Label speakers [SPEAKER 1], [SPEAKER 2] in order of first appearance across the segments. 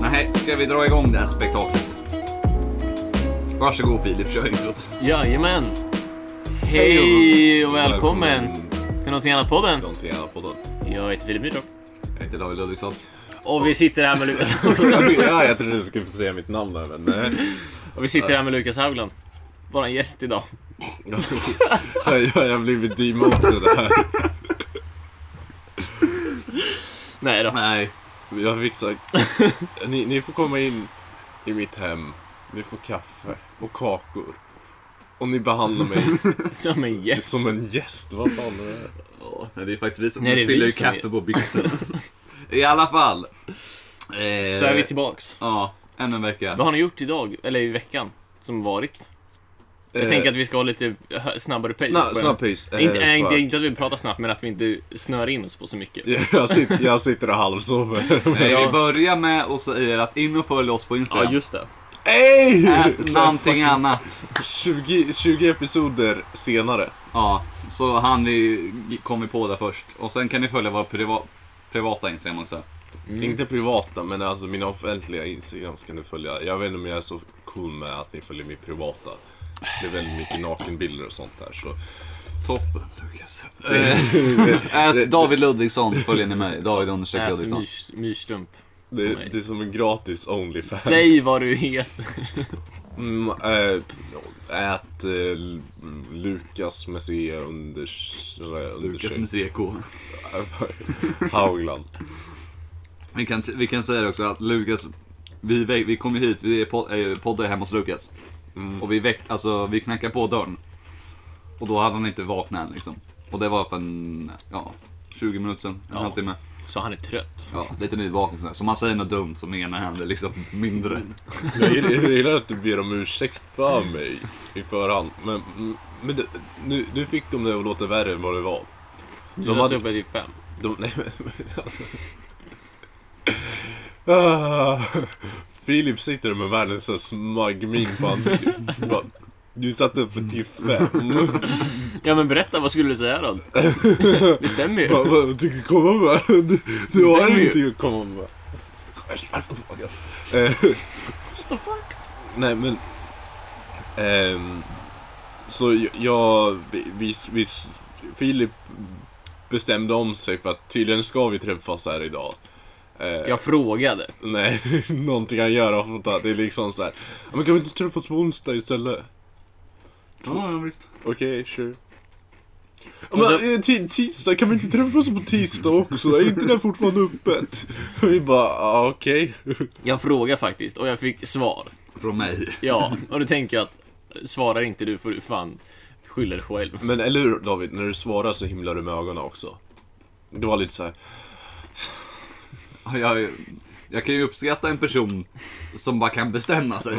[SPEAKER 1] Nej, ska vi dra igång det här spektaklet? Varsågod Filip, kör introt.
[SPEAKER 2] Jajamän! Hej och välkommen till Någonting Annat-podden.
[SPEAKER 1] Välkommen till Antena-podden.
[SPEAKER 2] Jag heter Filip Myrdal.
[SPEAKER 1] Jag heter David Ludvigsson.
[SPEAKER 2] Och vi sitter här med Lukas
[SPEAKER 3] ja, jag trodde du skulle få säga mitt namn där, men nej.
[SPEAKER 2] Och vi sitter här med Lukas Haugland. Våran gäst idag.
[SPEAKER 3] Jag, jag, jag blivit demoted här.
[SPEAKER 2] Nej då.
[SPEAKER 3] Nej, jag fick sagt. Ni, ni får komma in i mitt hem. Ni får kaffe och kakor. Och ni behandlar mig
[SPEAKER 2] Som en gäst.
[SPEAKER 3] som en gäst. Vad fan är det?
[SPEAKER 1] Ja, nej, det är faktiskt vi som
[SPEAKER 2] Nej, det är
[SPEAKER 1] spiller
[SPEAKER 2] vi
[SPEAKER 1] ju
[SPEAKER 2] som
[SPEAKER 1] kaffe
[SPEAKER 2] är-
[SPEAKER 1] på byxorna. I alla fall. Eh, Så
[SPEAKER 2] Så är vi tillbaks.
[SPEAKER 1] Ja, ännu en vecka.
[SPEAKER 2] Vad har ni gjort idag? Eller i veckan? Som varit? Jag tänker att vi ska ha lite hö- snabbare pace. på
[SPEAKER 3] Snabb,
[SPEAKER 2] det.
[SPEAKER 3] snabb pace.
[SPEAKER 2] Inte,
[SPEAKER 3] Eh,
[SPEAKER 2] äh, inte,
[SPEAKER 3] för-
[SPEAKER 2] inte att vi pratar snabbt, men att vi inte snör in oss på så mycket.
[SPEAKER 3] jag, sitter, jag sitter och halvsover.
[SPEAKER 1] Eh,
[SPEAKER 2] Ja.
[SPEAKER 1] Vi börjar med att säga att in och följ oss på Instagram.
[SPEAKER 2] just det.
[SPEAKER 3] Ey!
[SPEAKER 1] Ät någonting annat.
[SPEAKER 3] 20, 20 episoder senare.
[SPEAKER 1] Ja, så han vi kom vi på där först. Och sen kan ni följa våra priva, privata Instagram också.
[SPEAKER 2] Mm.
[SPEAKER 3] Inte privata, men alltså mina offentliga Instagram ska ni följa. Jag vet inte om jag är så cool med att ni följer min privata. Det är väldigt mycket nakenbilder och sånt där. Så.
[SPEAKER 1] Toppen Lukas. Ät David Ludvigsson följer ni mig. David understreck
[SPEAKER 2] Ät
[SPEAKER 1] Ludvigsson.
[SPEAKER 2] myrs- myrstrump.
[SPEAKER 3] Det, det är som en gratis Onlyfans.
[SPEAKER 2] Säg vad du heter.
[SPEAKER 3] Mm, äh, ät äh, Lukas med C under...
[SPEAKER 1] Lukas med CK.
[SPEAKER 3] Haugland.
[SPEAKER 1] Vi kan, vi kan säga det också att Lukas, vi, vä- vi kom ju hit, vi är pod, eh, poddar hemma hos Lukas. Och vi väck, alltså vi knackade på dörren. Och då hade han inte vaknat än liksom. Och det var för en, ja, 20 minuter sedan, en
[SPEAKER 2] Ja.
[SPEAKER 1] halvtimme.
[SPEAKER 2] Så han är trött.
[SPEAKER 1] Ja, lite nyvaken sådär. Så om man säger något dumt så menar han det liksom mindre.
[SPEAKER 3] Jag gillar- jag gillar att du ber om ursäkt för mig i förhand. Men, men du, nu, nu fick de det att låta värre än vad det var.
[SPEAKER 2] Du
[SPEAKER 3] De
[SPEAKER 2] satt
[SPEAKER 3] hade-
[SPEAKER 2] uppe till fem.
[SPEAKER 3] De, nej men... ah, Filip sitter med världens så här smaggmin på ansiktet. Bara, Du satt uppe till typ fem.
[SPEAKER 2] Ja men berätta, vad skulle du säga då? Det stämmer ju.
[SPEAKER 3] Vad- vad du kan komma med? Du, du har
[SPEAKER 2] Stämmer ju.
[SPEAKER 3] ingenting att komma med. Eh, Nej men... ehm, så jag- jag... Vi, vi, vi, Filip bestämde om sig för att tydligen ska vi träffas här idag. Eh,
[SPEAKER 2] Jag frågade.
[SPEAKER 3] Nej, någonting han gör har fått ta. Det är liksom så här. "Ja, Men kan vi inte träffas på onsdag istället?
[SPEAKER 1] Ja, visst.
[SPEAKER 3] Okej, sure. Ja,
[SPEAKER 2] Och så-
[SPEAKER 3] Men, eh, ti- tisdag, kan vi inte träffas på tisdag också? Är inte det fortfarande öppet? Vi bara, ah, okej.
[SPEAKER 2] Jag frågade faktiskt och jag fick svar.
[SPEAKER 1] Från mig.
[SPEAKER 2] Ja, och då tänker jag att svarar inte du får du fan skylla dig själv.
[SPEAKER 3] Men eller hur David, när du svarar så himlar du med ögonen också. Det var lite så här.
[SPEAKER 1] Ja, Jag, jag kan ju uppskatta en person som bara kan bestämma sig.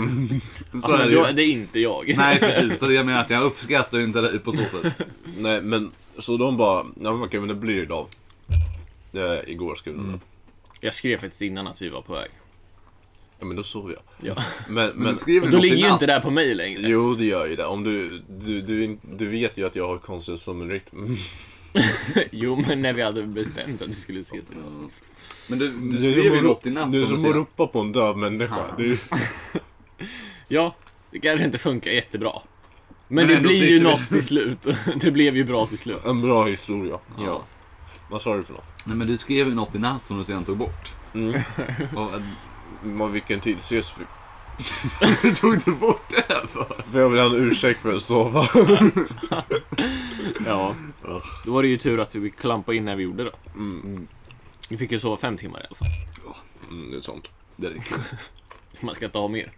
[SPEAKER 1] Så är det
[SPEAKER 2] det,
[SPEAKER 1] ju.
[SPEAKER 2] det är inte jag.
[SPEAKER 1] Nej precis, det är det jag menar att jag uppskattar ju inte dig på så sätt.
[SPEAKER 3] Nej men, så de bara, ja men okej men det blir idag. Eh, igår skrev de det.
[SPEAKER 2] Jag skrev faktiskt innan att vi var på väg.
[SPEAKER 3] Ja men då sov jag.
[SPEAKER 2] Ja.
[SPEAKER 3] Men, men,
[SPEAKER 1] Men skriver
[SPEAKER 2] Och
[SPEAKER 1] du
[SPEAKER 2] då
[SPEAKER 1] något
[SPEAKER 2] ligger ju
[SPEAKER 1] innan?
[SPEAKER 2] inte det här på mig längre.
[SPEAKER 3] jo det gör ju det. Om du, du, du, du vet ju att jag har konstig sömnrytm.
[SPEAKER 2] Jo, men när vi hade bestämt att vi skulle ses.
[SPEAKER 1] Men du, du,
[SPEAKER 3] är
[SPEAKER 1] skrev ju
[SPEAKER 3] som att-
[SPEAKER 1] något innan.
[SPEAKER 3] Du är
[SPEAKER 1] som
[SPEAKER 3] som att
[SPEAKER 1] du
[SPEAKER 3] ropa på en döv människa.
[SPEAKER 1] Fan.
[SPEAKER 3] Det är-
[SPEAKER 2] Ja, det kanske inte funkar jättebra. Men,
[SPEAKER 1] Men
[SPEAKER 2] det
[SPEAKER 1] ändå
[SPEAKER 2] blir
[SPEAKER 1] sitter
[SPEAKER 2] ju
[SPEAKER 1] vi-
[SPEAKER 2] något till slut. Det blev ju bra till slut.
[SPEAKER 3] En bra historia.
[SPEAKER 1] säger. ja.
[SPEAKER 3] Vad sa du för något?
[SPEAKER 1] Nej men du skrev ju något i natt som du sedan tog bort. Och,
[SPEAKER 3] Vad, vilken tid ses vi?
[SPEAKER 1] du tog du bort det här för?
[SPEAKER 3] För jag vill ha en ursäkt för att sova.
[SPEAKER 2] Ja. Då var det ju tur att vi klampade in när vi gjorde det.
[SPEAKER 3] Mm,
[SPEAKER 2] Vi fick ju sova fem timmar i alla fall.
[SPEAKER 3] mm, det är sånt.
[SPEAKER 1] Det räcker.
[SPEAKER 2] Man ska inte ha mer.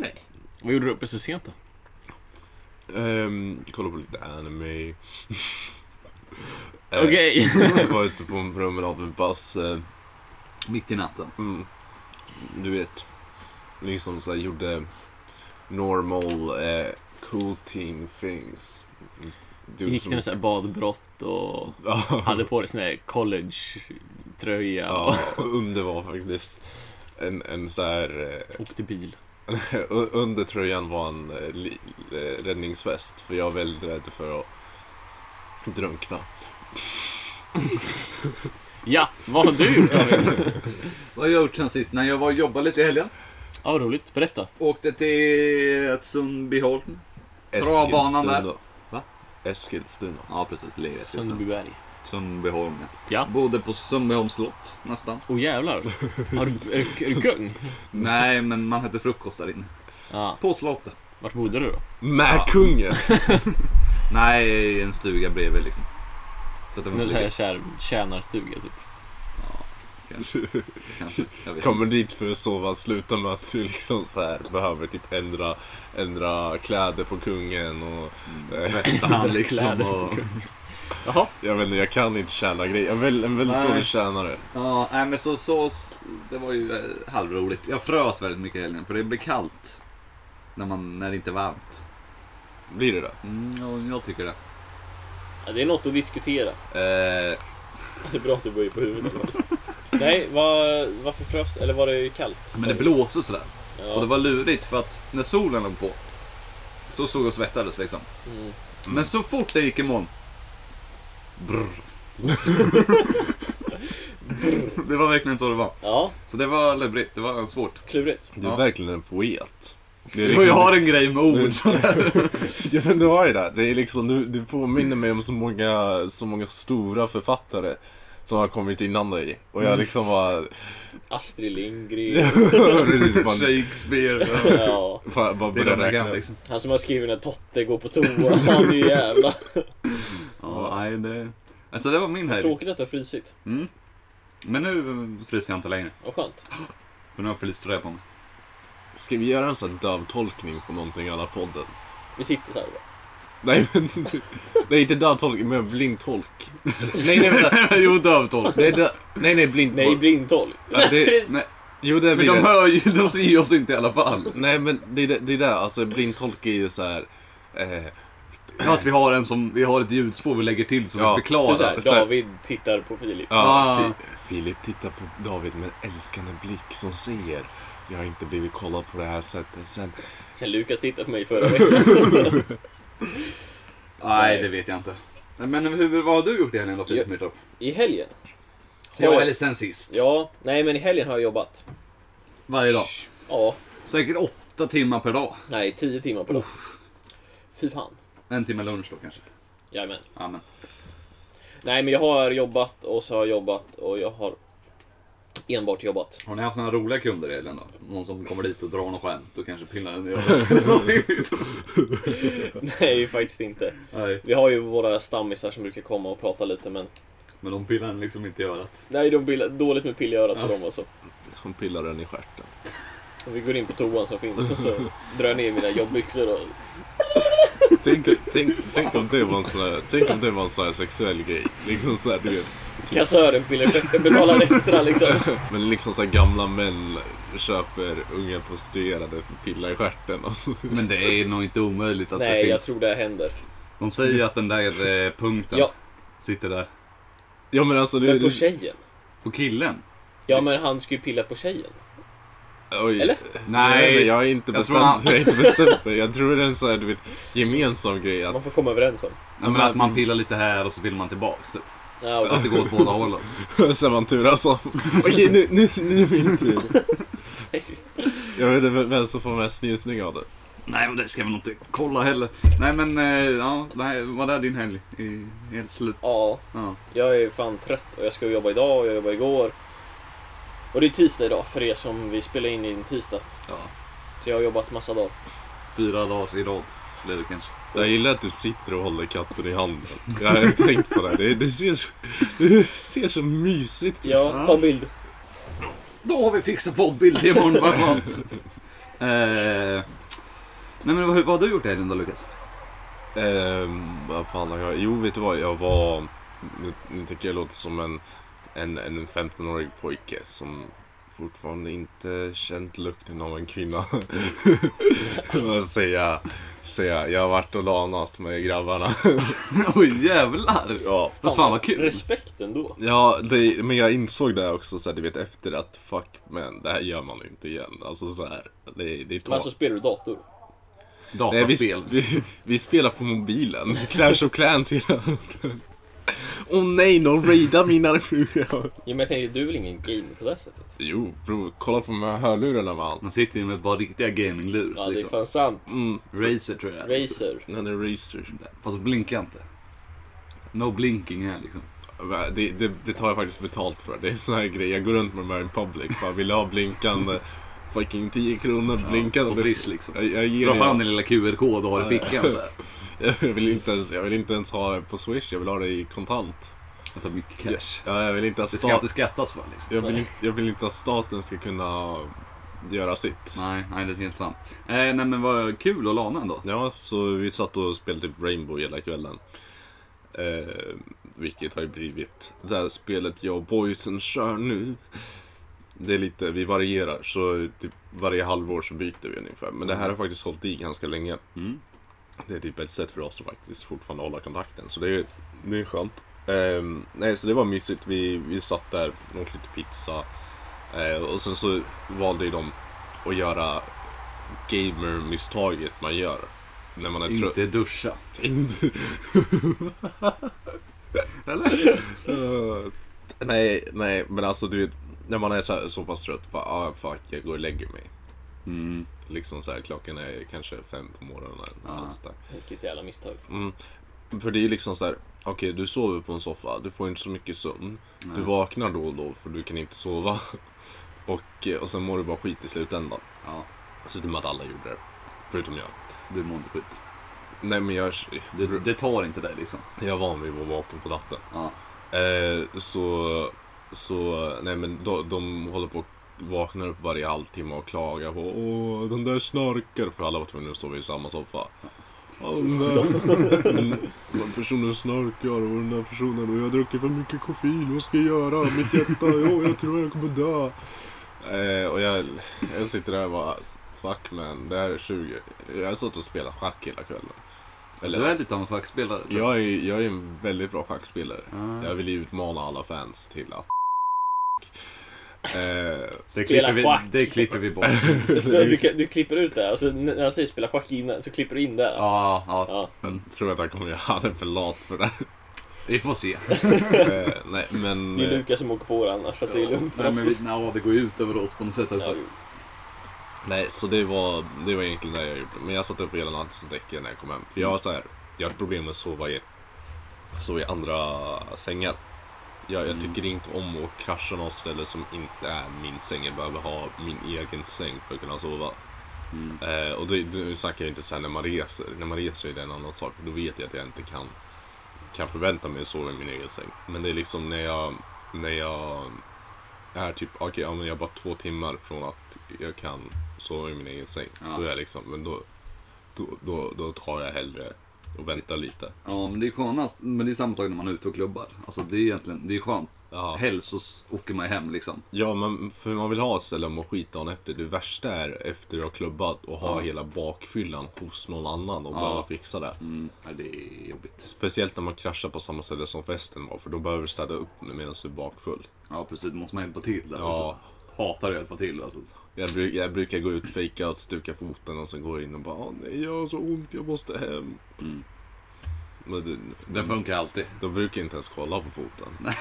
[SPEAKER 1] Nej.
[SPEAKER 2] Vad gjorde du uppe så sent då?
[SPEAKER 3] Ehm, kolla på lite anime. Eh,
[SPEAKER 2] Okej.
[SPEAKER 3] Jag var ute på en promenad med Basse.
[SPEAKER 1] Mitt i natten.
[SPEAKER 3] Mm, du vet. Liksom så här, gjorde normal eh, cool team things. Du
[SPEAKER 2] Gick du något så här badbrott och hade på dig sån här college-tröja och
[SPEAKER 3] Ja, underbar faktiskt. En, en så här... Eh,
[SPEAKER 2] åkte bil?
[SPEAKER 3] U- Under tröjan var en eh, li- eh, räddningsväst för jag var väldigt rädd för att drunkna.
[SPEAKER 4] Ja, vad har du gjort David?
[SPEAKER 1] Vad har jag gjort sen sist? När jag var och jobbade lite i helgen.
[SPEAKER 4] Ja, vad roligt. Berätta.
[SPEAKER 1] Åkte till Sundbyholm. Travbanan där.
[SPEAKER 3] Eskilstuna.
[SPEAKER 1] Va?
[SPEAKER 3] Eskilstuna.
[SPEAKER 1] Ja, precis. Ligger i Eskilstuna.
[SPEAKER 4] Sundbyberg.
[SPEAKER 1] Sundbyholm, ja.
[SPEAKER 4] Ja.
[SPEAKER 1] Bodde på Sundbyholms slott, nästan.
[SPEAKER 4] Åh jävlar. Har du, är, du- är du kung?
[SPEAKER 1] Nej, men man hade frukost där inne.
[SPEAKER 4] Ja.
[SPEAKER 1] På slottet.
[SPEAKER 4] Vart bodde du då?
[SPEAKER 3] Med kungen!
[SPEAKER 1] Nej, i en stuga bredvid liksom. Så att det var
[SPEAKER 4] Nu
[SPEAKER 1] inte
[SPEAKER 4] säger
[SPEAKER 1] lika...
[SPEAKER 4] jag kär, tjänarstuga typ.
[SPEAKER 1] Kanske. Jag vet inte.
[SPEAKER 3] Kommer dit för att sova, slutar med att du liksom så här behöver typ ändra, ändra kläder på kungen och...
[SPEAKER 1] Mm.
[SPEAKER 3] eh,
[SPEAKER 1] Han liksom och...
[SPEAKER 4] Jaha.
[SPEAKER 3] Jag vet inte, jag kan inte tjäna grejer. Jag är väl- en väldigt
[SPEAKER 1] Nej.
[SPEAKER 3] dålig tjänare.
[SPEAKER 1] Ja, nej men så, så det var ju eh, halvroligt. Jag frös väldigt mycket i helgen för det blir kallt när, man, när det inte är varmt.
[SPEAKER 3] Blir det det?
[SPEAKER 1] Mm, ja, jag tycker det.
[SPEAKER 2] Ja, det är något att diskutera.
[SPEAKER 1] Eh,
[SPEAKER 2] Det är bra att du böjer på huvudet. Nej, var, varför frös Eller var det kallt?
[SPEAKER 1] men det blåser sådär.
[SPEAKER 2] Ja.
[SPEAKER 1] Och det var lurigt för att när solen låg på så såg jag och svettades liksom.
[SPEAKER 2] Mm.
[SPEAKER 1] Men så fort det gick i moln. Brr. det var verkligen så det var.
[SPEAKER 2] Ja,
[SPEAKER 1] Så det var lurigt, det var svårt.
[SPEAKER 2] klurigt.
[SPEAKER 3] Du är
[SPEAKER 1] Ja.
[SPEAKER 3] verkligen en poet. Det är liksom-
[SPEAKER 1] Jag har en grej med ord.
[SPEAKER 3] Du-
[SPEAKER 1] sådär.
[SPEAKER 3] Ja men du har ju det. Det är liksom, du, du påminner mig om så många, så många stora författare som har kommit innan dig. Och
[SPEAKER 1] Mm.
[SPEAKER 3] jag liksom bara...
[SPEAKER 2] Astrid Lindgren.
[SPEAKER 3] Precis, bara,
[SPEAKER 1] Shakespeare.
[SPEAKER 2] Ja.
[SPEAKER 3] fan, bara
[SPEAKER 1] Det är de
[SPEAKER 3] börja
[SPEAKER 1] där gamla
[SPEAKER 3] liksom- räkna.
[SPEAKER 1] liksom.
[SPEAKER 2] Han som har skrivit när Totte går på toa. Han är ju jävla...
[SPEAKER 1] Ja, nej det... Alltså det var min helg.
[SPEAKER 2] Tråkigt att det har frysit.
[SPEAKER 1] Mm. Men nu fryser jag inte längre.
[SPEAKER 2] Vad skönt.
[SPEAKER 1] För nu har jag fleecetröja på mig.
[SPEAKER 3] Ska vi göra en sån här dövtolkning på någonting i alla podden?
[SPEAKER 2] Vi sitter så här bara.
[SPEAKER 3] Nej men... Nej inte dövtolkning, men blindtolk. Nej nej vänta.
[SPEAKER 1] jo, dövtolk.
[SPEAKER 3] Nej, dö... nej, nej
[SPEAKER 2] Nej,
[SPEAKER 3] blindtolk.
[SPEAKER 2] blindtolk.
[SPEAKER 3] Ja, det...
[SPEAKER 1] Nej,
[SPEAKER 3] Jo det
[SPEAKER 1] men
[SPEAKER 3] blir
[SPEAKER 1] de
[SPEAKER 3] det.
[SPEAKER 1] hör ju, de ser ju oss inte i alla fall.
[SPEAKER 3] Nej men det är det, det, är det. alltså blindtolk är ju så här. Eh,
[SPEAKER 1] Ja, att vi har en som, vi har ett ljudspår vi lägger till som
[SPEAKER 3] Ja.
[SPEAKER 1] vi
[SPEAKER 2] Du så här,
[SPEAKER 1] förklarar.
[SPEAKER 3] så här-
[SPEAKER 2] David tittar på Filip.
[SPEAKER 3] Ja,
[SPEAKER 1] Ah.
[SPEAKER 3] Fi- Filip tittar på David med en älskande blick som säger Jag har inte blivit kollad på det här sättet sen.
[SPEAKER 2] Sen Lukas tittade på mig förra veckan.
[SPEAKER 1] Nej, det vet jag inte. Men hur, vad har du gjort i helgen då, Filip Myrtorp?
[SPEAKER 2] I helgen? Har
[SPEAKER 1] Ja,
[SPEAKER 2] jag-
[SPEAKER 1] eller sen sist.
[SPEAKER 2] Ja, nej men i helgen har jag jobbat.
[SPEAKER 1] Varje dag.
[SPEAKER 2] Ja,
[SPEAKER 1] Säkert åtta timmar per dag.
[SPEAKER 2] nej, tio timmar på dag. Fy fan.
[SPEAKER 1] En timme lunch då kanske.
[SPEAKER 2] Jajamän.
[SPEAKER 1] Ja, men.
[SPEAKER 2] Nej, men jag har jobbat och så har jag jobbat och jag har enbart jobbat.
[SPEAKER 1] Har ni haft några roliga kunder i helgen då? Någon som kommer dit och drar något skämt och kanske pillar en i örat?
[SPEAKER 2] Nej, faktiskt inte.
[SPEAKER 1] Nej,
[SPEAKER 2] Vi har ju våra stammisar som brukar komma och prata lite, men
[SPEAKER 1] men de pillar en liksom inte i örat.
[SPEAKER 2] nej, de blir dåligt med pill i örat på dem alltså.
[SPEAKER 3] Hon pillar den i stjärten.
[SPEAKER 2] Och vi går in på toan som finns och så drar jag ner mina jobbbyxor och...
[SPEAKER 3] Tänk, tänk, tänk om det var en sån här, tänk om det var en sån här sexuell grej. Liksom så här, du vet.
[SPEAKER 2] Kassören pillar, betalar extra liksom.
[SPEAKER 3] Men liksom så här gamla män köper unga prostituerade för att pilla i stjärten. Alltså.
[SPEAKER 1] Men det är nog inte omöjligt att det
[SPEAKER 2] Nej,
[SPEAKER 1] finns.
[SPEAKER 2] jag tror det händer.
[SPEAKER 1] De säger ju att den där eh, punkten
[SPEAKER 2] Ja.
[SPEAKER 1] sitter där.
[SPEAKER 3] Ja men alltså det...
[SPEAKER 2] Men på
[SPEAKER 3] det-
[SPEAKER 2] tjejen?
[SPEAKER 1] På killen?
[SPEAKER 2] Ja, men han ska ju pilla på tjejen.
[SPEAKER 3] Oj.
[SPEAKER 2] Eller?
[SPEAKER 3] Nej, jag har inte
[SPEAKER 1] jag tror
[SPEAKER 3] bestämt,
[SPEAKER 1] han-
[SPEAKER 3] jag har inte bestämt mig. Jag tror det är en sån här, du vet, gemensam grej. Att
[SPEAKER 2] Man får komma överens om.
[SPEAKER 1] Nej, men att man pillar lite här och så pillar man tillbaks. Typ.
[SPEAKER 2] Ja,
[SPEAKER 1] Att det går åt båda hållen.
[SPEAKER 3] Sen man turas om. Okej, nu, nu, nu är min tur. Jag vet inte vem som får mest njutning av det.
[SPEAKER 1] Nej, men det ska vi nog inte kolla heller. Nej, men eh, ja, nej, vad är din helg? I, helt slut.
[SPEAKER 2] ja
[SPEAKER 1] Ja.
[SPEAKER 2] jag är fan trött och jag ska jobba idag och jag jobbar igår. Och det är tisdag idag för er som vi spelar in i en tisdag.
[SPEAKER 1] ja.
[SPEAKER 2] Så jag har jobbat massa dagar.
[SPEAKER 1] Fyra dagar i rad blir det kanske.
[SPEAKER 3] Jag gillar att du sitter och håller katten i handen. Jag har tänkt på det. Det, det, ser, så- det ser så mysigt ut.
[SPEAKER 2] Ja, ta en bild.
[SPEAKER 1] Då har vi fixat poddbild till imorgon, vad skönt. eh, nej, men vad, vad har du gjort i helgen då, Lukas?
[SPEAKER 3] Ehm, vad fan har jag... Jo, vet du vad? Jag var... Nu, nu tycker jag låter som en, en, en 15-årig pojke som fortfarande inte känt lukten av en kvinna. Vad säga, säga, jag har varit och lanat med grabbarna.
[SPEAKER 1] Oj, jävlar!
[SPEAKER 3] ja.
[SPEAKER 1] Fast fan vad kul.
[SPEAKER 2] Respekt ändå.
[SPEAKER 3] Ja, det, men jag insåg det också så här, du vet efter att fuck men det här gör man inte igen. Alltså så här, det, det är
[SPEAKER 2] Men alltså
[SPEAKER 3] tå-
[SPEAKER 2] spelar du dator?
[SPEAKER 3] Nej, vi,
[SPEAKER 2] Eh,
[SPEAKER 1] Dataspel.
[SPEAKER 3] vi, vi spelar på mobilen. Clash of Clans hela Åh nej, de raidar mina hörlurar.
[SPEAKER 2] Ja, men jag tänkte, du är väl ingen gamer på det här sättet?
[SPEAKER 3] Jo, bror. Kolla på de här hörlurarna med allt.
[SPEAKER 1] Man sitter ju med ett par riktiga gaminglurs
[SPEAKER 2] Ja, det är
[SPEAKER 1] liksom.
[SPEAKER 2] fan sant.
[SPEAKER 3] Mm.
[SPEAKER 1] Razer tror jag. liksom.
[SPEAKER 2] Razer.
[SPEAKER 3] Den är racer.
[SPEAKER 1] Fast blinka inte. No blinking här liksom.
[SPEAKER 3] Va, Det, det, det tar jag faktiskt betalt för. Det är en sån här grej. Jag går runt med de här i public. Bara vill ha blinkande. Fucking 10 kronor blinkande.
[SPEAKER 1] på Swish, liksom.
[SPEAKER 3] Jag, jag ger
[SPEAKER 1] Dra
[SPEAKER 3] er-
[SPEAKER 1] fram din lilla QR-kod och ha i fickan så här.
[SPEAKER 3] jag vill, inte ens, jag vill inte ens ha det på swish. Jag vill ha det i kontant.
[SPEAKER 1] Jag tar mycket cash.
[SPEAKER 3] Ja, jag vill inte att
[SPEAKER 1] Det ska
[SPEAKER 3] stat,
[SPEAKER 1] inte skattas va liksom.
[SPEAKER 3] jag vill, inte- jag vill inte att staten ska kunna göra sitt.
[SPEAKER 1] Nej, nej det är helt sant. Eh, nej men vad kul och lana ändå.
[SPEAKER 3] Ja, så vi satt och spelade typ Rainbow hela kvällen. Eh, vilket har ju blivit det här spelet jag och boysen kör nu. Det är lite, vi varierar, så typ varje halvår så byter vi ungefär. Men det här har faktiskt hållit i ganska länge.
[SPEAKER 1] Mm.
[SPEAKER 3] Det är typ ett sätt för oss att faktiskt fortfarande hålla kontakten, så det är, det är skönt. Ehm, nej, så det var mysigt. Vi, vi satt där, åt lite pizza. Eh, och sen så valde ju de att göra gamer-misstaget man gör. När man är trött.
[SPEAKER 1] Inte duscha.
[SPEAKER 3] Inte. Eller? nej, nej, men alltså du vet, när man är så, här, så pass trött, bara ah, fuck, jag går och lägger mig.
[SPEAKER 1] Mm.
[SPEAKER 3] Liksom så här, klockan är kanske fem på morgonen eller
[SPEAKER 1] Ja.
[SPEAKER 3] något sånt där.
[SPEAKER 2] Vilket jävla misstag.
[SPEAKER 3] För det är ju liksom så här, okej du sover på en soffa, du får inte så mycket sömn. Du vaknar då och då för du kan inte sova. Och, eh, och sen mår du bara skit i slutändan.
[SPEAKER 1] Ja,
[SPEAKER 3] Så det med att alla gjorde det. Förutom jag.
[SPEAKER 1] du mår inte skit.
[SPEAKER 3] Nej men jag,
[SPEAKER 1] Det, det tar inte dig liksom.
[SPEAKER 3] jag är van vid att vara vaken på natten.
[SPEAKER 1] Ja.
[SPEAKER 3] Eh, så, så, nej men de, de håller på och vaknar upp varje halvtimme och klagar på Åh, den där snarkar. För alla var tvungna att sova i samma soffa. Ja, den där den- den personen snarkar och den där personen och jag dricker för mycket koffein. Vad ska jag göra? Mitt hjärta, ja, jag tror jag kommer dö. Eh, och jag, jag sitter där och bara Fuck man, det här är 20. Jag satt och spelade schack hela kvällen.
[SPEAKER 1] Du är lite av en schackspelare. tror
[SPEAKER 3] Jag är, jag är en väldigt bra schackspelare.
[SPEAKER 1] Ah.
[SPEAKER 3] Jag vill ju utmana alla fans till att eh,
[SPEAKER 1] Det
[SPEAKER 2] Spela
[SPEAKER 1] klipper, vi,
[SPEAKER 2] schack.
[SPEAKER 1] det klipper vi bort.
[SPEAKER 2] Så du, du klipper ut det här, alltså, n- när han säger spela schack innan, så klipper du in det.
[SPEAKER 1] ja, ja,
[SPEAKER 2] Ja.
[SPEAKER 3] Jag tror att han kommer göra han är för lat för det.
[SPEAKER 1] vi får se.
[SPEAKER 3] eh, nej, men...
[SPEAKER 2] Det är
[SPEAKER 3] Eh,
[SPEAKER 2] Lukas som åker på det annars, så att det är lugnt för
[SPEAKER 1] Nej,
[SPEAKER 2] oss.
[SPEAKER 1] men vi, nej, det går ju ut över oss på något sätt.
[SPEAKER 2] Ja,
[SPEAKER 1] Alltså.
[SPEAKER 3] nej, så det var, det var egentligen det jag gjorde. Men jag satt upp hela natten som däckade när jag kom hem. För jag har så här, jag har ett problem med att sova i, sova i andra sängar. Jag, jag tycker inte om att krascha något ställe som inte är min säng. Jag behöver ha min egen säng för att kunna sova.
[SPEAKER 1] Mm.
[SPEAKER 3] Eh, och då, nu snackar jag inte så här när man reser. När man reser är det en annan sak. Då vet jag att jag inte kan, kan förvänta mig att sova i min egen säng. Men det är liksom när jag, när jag är typ, okej, ja, men jag är bara två timmar från att jag kan sova i min egen säng.
[SPEAKER 1] Ja.
[SPEAKER 3] Då är jag liksom, men då, då, då, då tar jag hellre och väntar lite.
[SPEAKER 1] Ja, men det är skönast. Men det är samma sak när man är ute och klubbar. Alltså det är egentligen, det är skönt.
[SPEAKER 3] Ja.
[SPEAKER 1] Helst så s- åker man hem liksom.
[SPEAKER 3] Ja, men för man vill ha ett ställe att må skit dagen efter. Det värsta är efter att ha klubbat och ha
[SPEAKER 1] Ja.
[SPEAKER 3] hela bakfyllan hos någon annan och
[SPEAKER 1] Ja.
[SPEAKER 3] behöva fixa det.
[SPEAKER 1] Mm, ja, det är jobbigt.
[SPEAKER 3] Speciellt när man kraschar på samma ställe som festen var, för då behöver du städa upp medan du är bakfull.
[SPEAKER 1] Ja, precis. Då måste man hjälpa till där.
[SPEAKER 3] Ja.
[SPEAKER 1] Alltså. Hatar att hjälpa till alltså.
[SPEAKER 3] Jag, bru- jag brukar gå ut, fejka och stuka foten och sen går jag in och bara Åh nej, jag har så ont, jag måste hem.
[SPEAKER 1] Mm.
[SPEAKER 3] Men det,
[SPEAKER 1] Den funkar alltid.
[SPEAKER 3] de brukar inte ens kolla på foten.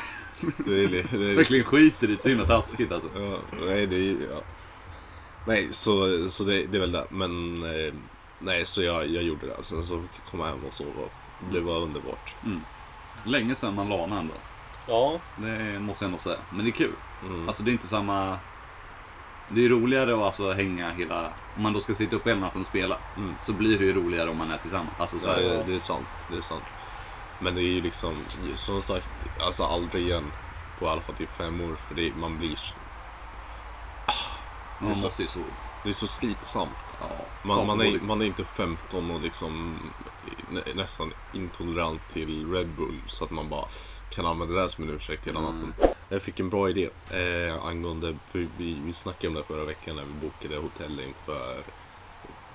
[SPEAKER 3] det är, li- det är,
[SPEAKER 1] Verkligen skiter i det. Så himla taskigt alltså.
[SPEAKER 3] ja, nej, det är, ja. nej, så, så det, det är väl det. Men eh, nej, så jag, jag gjorde det. Sen så kom jag hem och sov och det var underbart.
[SPEAKER 1] Länge sedan man lanade ändå.
[SPEAKER 2] ja,
[SPEAKER 1] Det måste jag ändå säga. Men det är kul.
[SPEAKER 3] Mm.
[SPEAKER 1] Alltså det är inte samma... Det är roligare att alltså hänga hela... Om man då ska sitta upp hela natten och spela.
[SPEAKER 3] Mm.
[SPEAKER 1] Så blir det ju roligare om man är tillsammans. Alltså så
[SPEAKER 3] Ja,
[SPEAKER 1] är
[SPEAKER 3] det,
[SPEAKER 1] det.
[SPEAKER 3] det är sant. Det är sant. Men det är ju liksom, som sagt, alltså aldrig igen på i alla fall typ fem år för det, man blir så-
[SPEAKER 1] Man måste ju så...
[SPEAKER 3] det är så slitsamt.
[SPEAKER 1] Ja, ta på
[SPEAKER 3] Man, man, är,
[SPEAKER 1] både-
[SPEAKER 3] man är inte 15 och liksom nä- nästan intolerant till Red Bull så att man bara kan använda det där som en ursäkt hela natten. Jag fick en bra idé eh, angående, för vi, vi snackade om det förra veckan när vi bokade hotell inför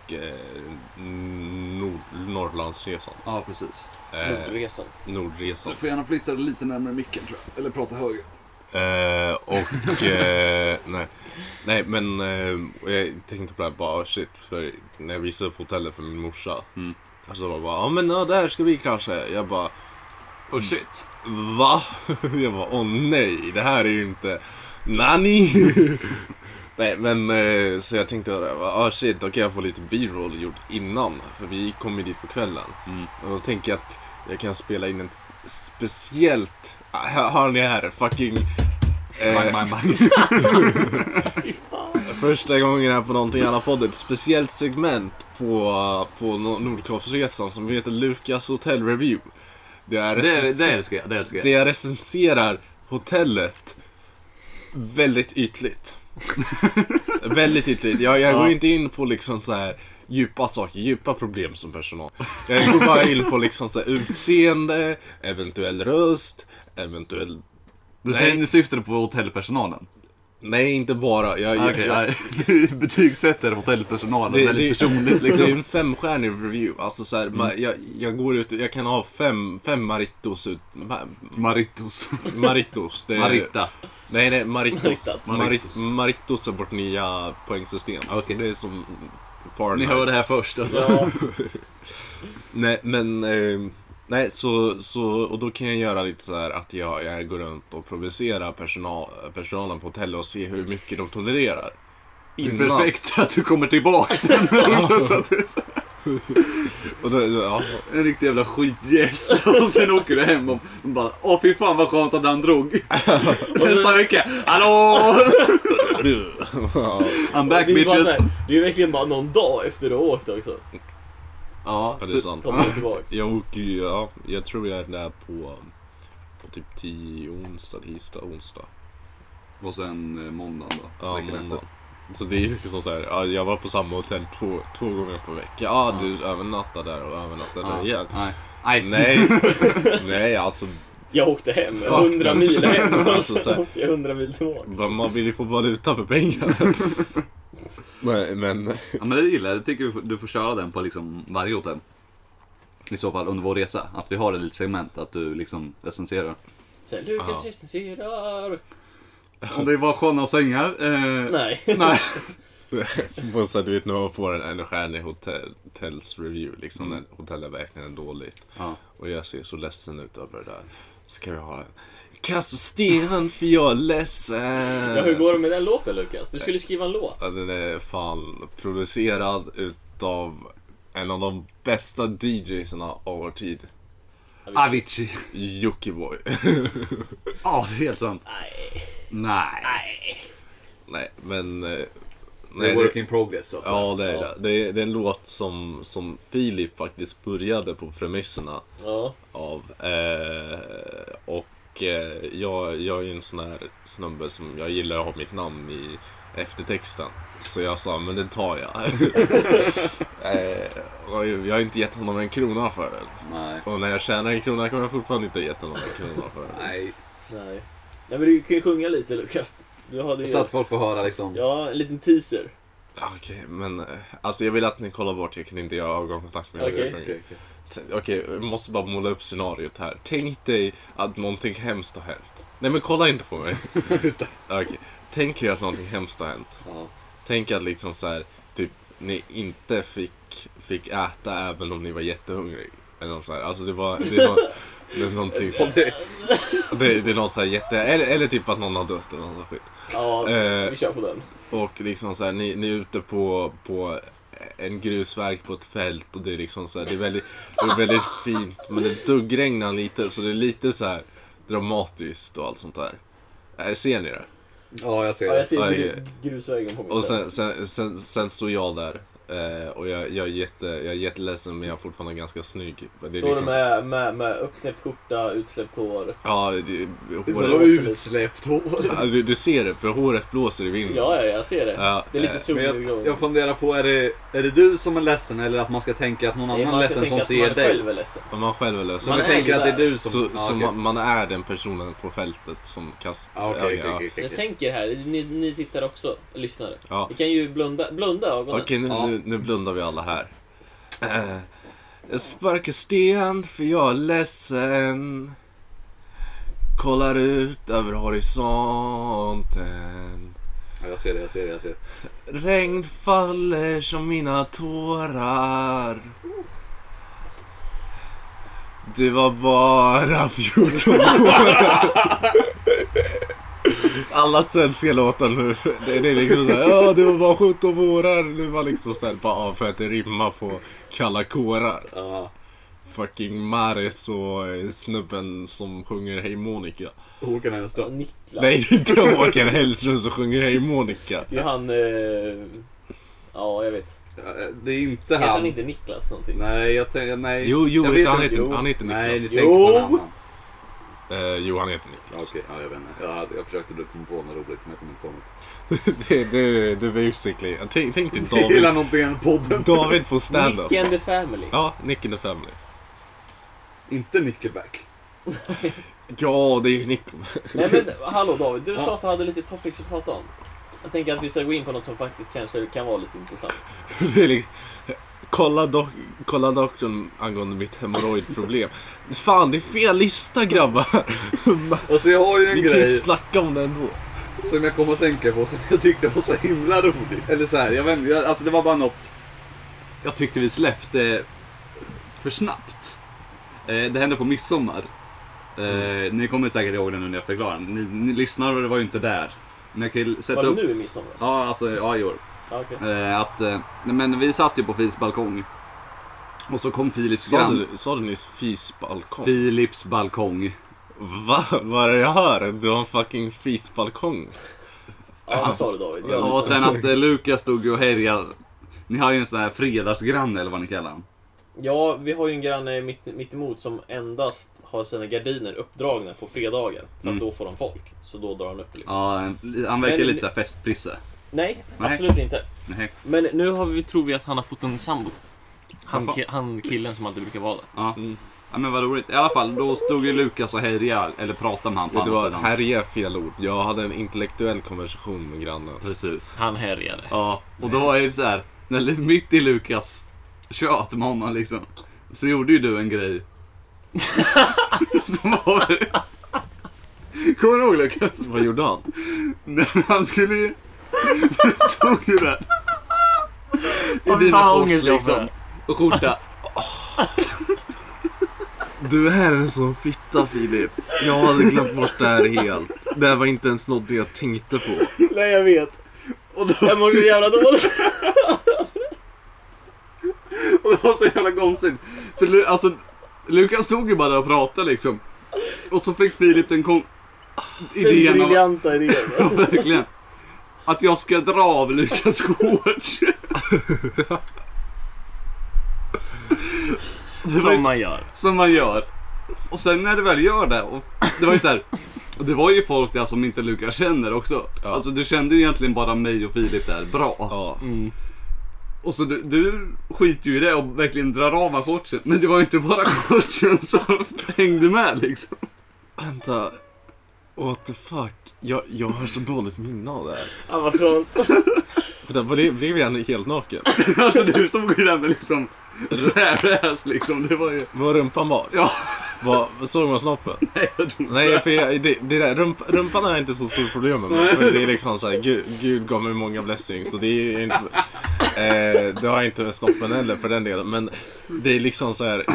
[SPEAKER 3] eh, nord, Norrlandsresan.
[SPEAKER 1] Ja, precis.
[SPEAKER 3] Eh,
[SPEAKER 2] Nordresan.
[SPEAKER 3] Nordresan.
[SPEAKER 1] Du får gärna flytta dig lite närmare micken tror jag. Eller prata högre.
[SPEAKER 3] Eh, och eh, nej. nej, men eh, och jag tänkte på det här bara oh shit, för när jag visade upp hotellet för min morsa. "Ah,
[SPEAKER 1] Mm.
[SPEAKER 3] Alltså bara, ja men ja, där ska vi krascha. Jag bara,
[SPEAKER 1] Oh shit.
[SPEAKER 3] Va? Jag bara, åh nej, det här är ju inte... Nani! nej, men eh, så jag tänkte, ah shit, då kan jag få lite B-roll gjort innan. För vi kom ju dit på kvällen.
[SPEAKER 1] Mm.
[SPEAKER 3] Och då tänker jag att jag kan spela in ett speciellt... Ah, Här har ni här, fucking...
[SPEAKER 1] Bang,
[SPEAKER 3] Eh,
[SPEAKER 1] bang, bang.
[SPEAKER 2] Fy fan.
[SPEAKER 3] första gången här på någonting annat podd, ett speciellt segment på, på Nor- Nordkapsresan som heter Lukas Hotel Review. Det är
[SPEAKER 1] Det, det älskar jag, det älskar jag.
[SPEAKER 3] det jag recenserar hotellet väldigt ytligt. väldigt ytligt. Jag, jag går inte in på liksom så här djupa saker, djupa problem som personal. Jag går bara in på liksom så här utseende, eventuell röst, eventuell...
[SPEAKER 1] Du
[SPEAKER 3] Nej.
[SPEAKER 1] säger, nu syftar du på hotellpersonalen?
[SPEAKER 3] Nej, inte bara. Jag, jag,
[SPEAKER 1] Okej,
[SPEAKER 3] jag,
[SPEAKER 1] nej. Du betygsätter hotellpersonalen
[SPEAKER 3] Det-
[SPEAKER 1] väldigt
[SPEAKER 3] det-
[SPEAKER 1] personligt
[SPEAKER 3] det är
[SPEAKER 1] liksom. Mm.
[SPEAKER 3] en femstjärnig review. Alltså så här, man- jag, jag går ut, jag kan ha fem, fem maritos ut... ma-
[SPEAKER 1] Maritos.
[SPEAKER 3] Maritos. Det är,
[SPEAKER 1] Marita.
[SPEAKER 3] Nej, nej, Maritos.
[SPEAKER 2] Maritas.
[SPEAKER 3] Maritos, Maritos är vårt nya poängsystem.
[SPEAKER 1] Ah, Okej.
[SPEAKER 3] Det är som Fahrenheit.
[SPEAKER 1] Ni hör det här först alltså.
[SPEAKER 2] Ja,
[SPEAKER 3] Nej, men... Eh, nej, så, så... Och då kan jag göra lite så här att jag, jag går runt och provocerar personal, personalen på hotellet och ser hur mycket de tolererar.
[SPEAKER 1] Det är Perfekt att du kommer tillbaka sen. också, så att det är så-
[SPEAKER 3] Och då, ja,
[SPEAKER 1] en riktig jävla skitgäst. Och sen åker du hem och bara Åh fy fan vad skönt att han drog. Nästa vecka. Hallå!
[SPEAKER 3] ja,
[SPEAKER 1] I'm
[SPEAKER 2] det, är
[SPEAKER 1] back
[SPEAKER 2] ju bara så
[SPEAKER 1] bitches.
[SPEAKER 2] här, det är ju verkligen bara någon dag efter du har åkt också.
[SPEAKER 1] Ja,
[SPEAKER 3] det är
[SPEAKER 1] du-
[SPEAKER 3] sant.
[SPEAKER 2] Kommer du tillbaks.
[SPEAKER 3] Jag åker ju, ja, jag tror jag är där på, på typ 10 onsdag, tisdag, onsdag.
[SPEAKER 1] Och sen eh, måndagen då.
[SPEAKER 3] Ja,
[SPEAKER 1] veckan efter.
[SPEAKER 3] måndag. Så det är ju liksom så här, ja, jag var på samma hotell två, två gånger på vecka. Ja, du övernattade där och övernattade där igen.
[SPEAKER 1] Nej. Nej.
[SPEAKER 3] Nej, nej alltså.
[SPEAKER 2] Jag åkte hem, 100 mil hem och
[SPEAKER 3] Alltså, så här. Mm.
[SPEAKER 2] så åkte jag 100 mil tillbaks.
[SPEAKER 3] vad- Man vill ju få valuta för pengar. nej, men.
[SPEAKER 1] Ja, men det gillar jag. Jag tycker du får- du får köra den på liksom varje hotell. I så fall under vår resa. Att vi har ett litet segment att du liksom recenserar.
[SPEAKER 2] Så här, Lukas
[SPEAKER 3] Ja.
[SPEAKER 2] recenserar.
[SPEAKER 1] Om det var sköna sängar. Eh,
[SPEAKER 2] Nej.
[SPEAKER 1] nej.
[SPEAKER 3] Och så här, du vet när man får en enstjärnig hotell, hotels review, liksom när hotellet verkligen är dåligt.
[SPEAKER 1] Ja.
[SPEAKER 3] Och jag ser så ledsen ut över det där. Så kan vi ha en Kasta sten för jag är ledsen.
[SPEAKER 2] Ja, hur går det med den låten Lukas? Du skulle skriva en låt.
[SPEAKER 3] Ja, Den är fan producerad utav en av de bästa DJsarna av vår tid.
[SPEAKER 1] Avicii.
[SPEAKER 3] Jockiboi.
[SPEAKER 1] Ja, det är helt sant.
[SPEAKER 2] Nej.
[SPEAKER 1] Nej.
[SPEAKER 2] Nej.
[SPEAKER 3] nej, men... eh,
[SPEAKER 1] Det
[SPEAKER 3] Nej,
[SPEAKER 1] är
[SPEAKER 3] det,
[SPEAKER 1] work in progress så att säga.
[SPEAKER 3] ja, det är det. Det är, det är en låt som, som Filip faktiskt började på premisserna
[SPEAKER 2] Ja.
[SPEAKER 3] av. Eh, och eh, jag, jag är ju en sån här snubbe som jag gillar att ha mitt namn i eftertexten. Så jag sa, men det tar jag. eh, och jag har inte gett honom en krona för det.
[SPEAKER 1] Nej.
[SPEAKER 3] Och när jag tjänar en krona kan jag fortfarande inte ha gett honom en krona för det.
[SPEAKER 1] Nej.
[SPEAKER 2] Nej. Nej men du kan ju sjunga lite Lukas. Du hade
[SPEAKER 1] Så
[SPEAKER 2] ju...
[SPEAKER 1] att folk får höra liksom.
[SPEAKER 2] Ja, en liten teaser.
[SPEAKER 3] Okej, men eh, alltså jag vill att ni kollar bort, jag kan inte göra ögonkontakt med er.
[SPEAKER 2] Okej.
[SPEAKER 1] Okej, okej.
[SPEAKER 3] T- Okej, vi måste bara måla upp scenariot här. Tänk dig att någonting hemskt har hänt. Nej men kolla inte på mig.
[SPEAKER 1] Just det.
[SPEAKER 3] Okej, tänk er att någonting hemskt har hänt.
[SPEAKER 1] Ja.
[SPEAKER 3] Tänk att liksom så här, typ ni inte fick, fick äta även om ni var jättehungrig. Eller något så här. Alltså det var, det var det är någonting som,
[SPEAKER 1] Det-
[SPEAKER 3] det, det är någon så här jätte, eller, eller typ att någon har dött eller något sånt skit.
[SPEAKER 2] Ja,
[SPEAKER 3] Eh.
[SPEAKER 2] vi kör på den.
[SPEAKER 3] Och liksom så här, ni, ni är ute på, på en grusväg på ett fält och det är liksom så här, det är väldigt, det är väldigt fint men det duggregnar lite så det är lite så här dramatiskt och allt sånt där. Äh, ser ni det?
[SPEAKER 1] Ja, jag ser
[SPEAKER 2] Ja, jag
[SPEAKER 1] det.
[SPEAKER 2] ser
[SPEAKER 3] Okej.
[SPEAKER 2] gru- grusvägen på mig.
[SPEAKER 3] Och sen, sen, sen, sen står jag där eh, och jag, jag, är jätte, jag är jätteledsen men jag är fortfarande ganska snygg. Men Det är
[SPEAKER 2] Står du
[SPEAKER 3] liksom,
[SPEAKER 2] med, med, med uppknäppt skjorta, utsläppt hår?
[SPEAKER 3] ja, det,
[SPEAKER 1] Vadå
[SPEAKER 3] håret,
[SPEAKER 1] utsläppt hår?
[SPEAKER 3] Ja, du, du ser det för håret blåser i vinden.
[SPEAKER 2] Ja, ja, jag ser det.
[SPEAKER 3] Ja,
[SPEAKER 2] det är lite
[SPEAKER 3] eh,
[SPEAKER 1] Men jag, jag
[SPEAKER 2] solnedgång.
[SPEAKER 1] funderar på, är det, är det du som är ledsen eller att man ska tänka att någon
[SPEAKER 2] Nej,
[SPEAKER 1] annan är
[SPEAKER 2] man ska
[SPEAKER 1] ledsen
[SPEAKER 2] tänka
[SPEAKER 1] som
[SPEAKER 2] att man
[SPEAKER 1] ser dig?
[SPEAKER 2] själv är ledsen.
[SPEAKER 3] Om man själv är ledsen.
[SPEAKER 1] Så
[SPEAKER 2] Man
[SPEAKER 1] vi
[SPEAKER 2] är
[SPEAKER 1] tänker
[SPEAKER 2] ju
[SPEAKER 1] att det är
[SPEAKER 2] där.
[SPEAKER 1] du som...
[SPEAKER 3] Så,
[SPEAKER 1] ja,
[SPEAKER 3] så
[SPEAKER 1] okej.
[SPEAKER 3] man, man är den personen på fältet som kastar...
[SPEAKER 1] Ja, Okej,
[SPEAKER 3] ja,
[SPEAKER 1] okej, okej,
[SPEAKER 2] Jag
[SPEAKER 1] okej.
[SPEAKER 2] tänker här, ni, ni tittar också, lyssnare.
[SPEAKER 3] ja.
[SPEAKER 2] Ni kan ju blunda, blunda ögonen.
[SPEAKER 3] Okej, nu,
[SPEAKER 1] Ja.
[SPEAKER 3] nu, nu blundar vi alla här. Eh, jag sparkar sten för jag är ledsen. Kollar ut över horisonten.
[SPEAKER 1] Ja, Jag ser det, jag ser det, jag ser det.
[SPEAKER 3] Regn faller som mina tårar. Det var bara 14 år. Alla svenska låtar nu. Det, det är liksom såhär, ja det var bara 17 vårar. Nu var liksom såhär, bara för att det rimmar på kalla kårar.
[SPEAKER 2] Ja.
[SPEAKER 3] Fucking Maris och eh, snubben som sjunger Hej Monica.
[SPEAKER 1] Håkan Hellström.
[SPEAKER 2] Niklas.
[SPEAKER 3] Nej, det är inte Håkan Hellström som sjunger Hej Monica.
[SPEAKER 2] Det är han... Eh... Ja, jag vet.
[SPEAKER 1] eh, Det är inte
[SPEAKER 2] Heter
[SPEAKER 1] han.
[SPEAKER 2] han inte Niklas någonting?
[SPEAKER 1] Nej, jag tänkte... Nej.
[SPEAKER 3] Jo, jo,
[SPEAKER 1] Jag
[SPEAKER 3] vet,
[SPEAKER 1] vet
[SPEAKER 3] han,
[SPEAKER 1] inte,
[SPEAKER 3] heter,
[SPEAKER 1] jo.
[SPEAKER 3] han heter
[SPEAKER 1] Nej,
[SPEAKER 3] Niklas.
[SPEAKER 1] du tänkte på en
[SPEAKER 2] Jo!
[SPEAKER 1] annan.
[SPEAKER 3] Eh, jo, han heter Niklas.
[SPEAKER 1] Okej, ja, jag vet inte. Jag, hade, jag försökte komma på något roligt, men jag kom inte på något.
[SPEAKER 3] det, det, det är basically. Tänk, tänk dig
[SPEAKER 1] Jag gillar
[SPEAKER 3] David,
[SPEAKER 1] någonting i den podden.
[SPEAKER 3] David på
[SPEAKER 2] Nick
[SPEAKER 3] stand-up.
[SPEAKER 2] and the Family.
[SPEAKER 3] Ja, Nick in the Family.
[SPEAKER 1] Inte Nickelback.
[SPEAKER 3] Ja, det är ju Nick.
[SPEAKER 2] Nej men hallå David, du
[SPEAKER 1] Ja.
[SPEAKER 2] sa att du hade lite topics att prata om. Jag tänker att vi ska gå in på något som faktiskt kanske kan vara lite intressant.
[SPEAKER 3] Det är liksom, kolla, dok kolla doktorn angående mitt hemorrojdproblem. Fan, det är fel lista grabbar.
[SPEAKER 1] Alltså jag har ju en
[SPEAKER 3] Vi kan ju
[SPEAKER 1] grej
[SPEAKER 3] snacka om det ändå.
[SPEAKER 1] som jag kom att tänka på som jag tyckte var så himla roligt. Eller så här, jag vet inte, jag- alltså det var bara något jag tyckte vi släppte för snabbt. Eh, Det hände på midsommar. Eh,
[SPEAKER 2] Mm.
[SPEAKER 1] Ni kommer säkert ihåg det nu när jag förklarar. Ni, ni lyssnare var ju inte där. Men jag kan ju sätta
[SPEAKER 2] Var det
[SPEAKER 1] upp...
[SPEAKER 2] nu i midsommar?
[SPEAKER 1] Ja, alltså ja, i år.
[SPEAKER 2] Ja, okej.
[SPEAKER 1] Eh, Att, eh, nej, men vi satt ju på Fils balkong. Och så kom Filips
[SPEAKER 3] Sa
[SPEAKER 1] grann.
[SPEAKER 3] du, sa du nyss fisbalkong?
[SPEAKER 1] Filips balkong.
[SPEAKER 3] Va? Vad är det jag hör? Du har en fucking fisbalkong.
[SPEAKER 2] Ja, det sa du David. Jag
[SPEAKER 1] Ja, och
[SPEAKER 2] lyssnade.
[SPEAKER 1] sen att eh, Lukas stod ju och härjade. Ni har ju en sån här fredagsgranne eller vad ni kallar han.
[SPEAKER 2] ja, vi har ju en granne mitt, mitt emot som endast har sina gardiner uppdragna på fredagar. För att
[SPEAKER 1] Mm.
[SPEAKER 2] då får de folk. Så då drar han upp liksom.
[SPEAKER 1] Ja, en- han verkar
[SPEAKER 2] Men-
[SPEAKER 1] lite såhär festprisse.
[SPEAKER 2] Nej,
[SPEAKER 1] Nej.
[SPEAKER 2] absolut inte.
[SPEAKER 1] Nej.
[SPEAKER 4] Men nu har vi, tror vi att han har fått en sambo. Han,
[SPEAKER 1] Jaha.
[SPEAKER 4] ki- han killen som alltid brukar vara där.
[SPEAKER 1] Ja. ja, men vad roligt. I alla fall, då stod ju Lukas och härjade, eller pratade med han på
[SPEAKER 3] Det
[SPEAKER 1] andra
[SPEAKER 3] var,
[SPEAKER 1] sidan.
[SPEAKER 3] här är fel ord. Jag hade en intellektuell konversation med grannen.
[SPEAKER 1] Precis.
[SPEAKER 4] Han härjade.
[SPEAKER 1] Ja, och då är det så här, när, Lu- mitt i Lukas tjat med honom liksom, så gjorde ju du en grej. som var... Kommer du ihåg Lukas?
[SPEAKER 3] Vad gjorde han?
[SPEAKER 1] Nej, men han skulle ju... Det stod ju där. I
[SPEAKER 4] Fan,
[SPEAKER 1] dina
[SPEAKER 4] vad
[SPEAKER 1] shorts
[SPEAKER 4] ångest jag får.
[SPEAKER 1] liksom. Och skjorta.
[SPEAKER 3] Du är en sån fitta Filip. Jag hade glömt bort det här helt. Det här var inte ens något jag tänkte på.
[SPEAKER 2] Nej, jag vet.
[SPEAKER 1] Och då,
[SPEAKER 2] Jag mår så jävla dåligt.
[SPEAKER 1] och det var så jävla konstigt. För Lu, alltså, Lukas stod ju bara där och pratade liksom. Och så fick Filip den kon...
[SPEAKER 2] Den
[SPEAKER 1] Idén av...
[SPEAKER 2] briljanta idén.
[SPEAKER 1] Ja, verkligen. Att jag ska dra av Lukas shorts. Det var ju-
[SPEAKER 4] Som man gör.
[SPEAKER 1] Som man gör. Och sen när du väl gör det, och det var ju så här, och det var ju folk där som inte Lukas känner också.
[SPEAKER 3] Ja.
[SPEAKER 1] Alltså du kände ju egentligen bara mig och Filip där bra.
[SPEAKER 3] Ja. Mm.
[SPEAKER 1] Och så du, du skiter ju i det och verkligen drar av mig shortsen. Men det var ju inte bara shortsen som hängde med liksom.
[SPEAKER 3] Vänta. What the fuck? Jag, jag har så dåligt minne av det här.
[SPEAKER 2] Ja, vad skönt.
[SPEAKER 3] Vänta, blev, blev jag helt naken?
[SPEAKER 1] Alltså du stod ju där med liksom räväs liksom. Det var ju...
[SPEAKER 3] Var rumpan var?
[SPEAKER 1] Ja.
[SPEAKER 3] Var, såg man snoppen?
[SPEAKER 1] Nej, jag tror inte
[SPEAKER 3] Nej, för jag, det, det där, rump, rumpan är inte så stort problem med mig. För det är liksom såhär, Gud, Gud gav mig många blessings. Så det är ju inte... Eh, det har jag inte med snoppen heller för den delen. Men det är liksom så här.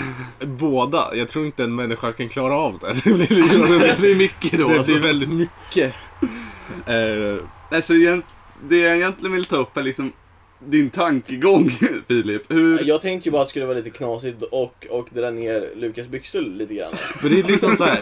[SPEAKER 3] båda. Jag tror inte en människa kan klara av det. Det blir,
[SPEAKER 1] det
[SPEAKER 3] liksom,
[SPEAKER 1] blir mycket då
[SPEAKER 3] det
[SPEAKER 1] alltså.
[SPEAKER 3] blir väldigt mycket. Eh,
[SPEAKER 1] Alltså egent- det jag egentligen vill ta upp är liksom din tankegång Filip. Hur...
[SPEAKER 2] Jag tänkte ju bara att det skulle vara lite knasigt och, och dra ner Lukas byxor lite grann.
[SPEAKER 3] Men det är liksom så här.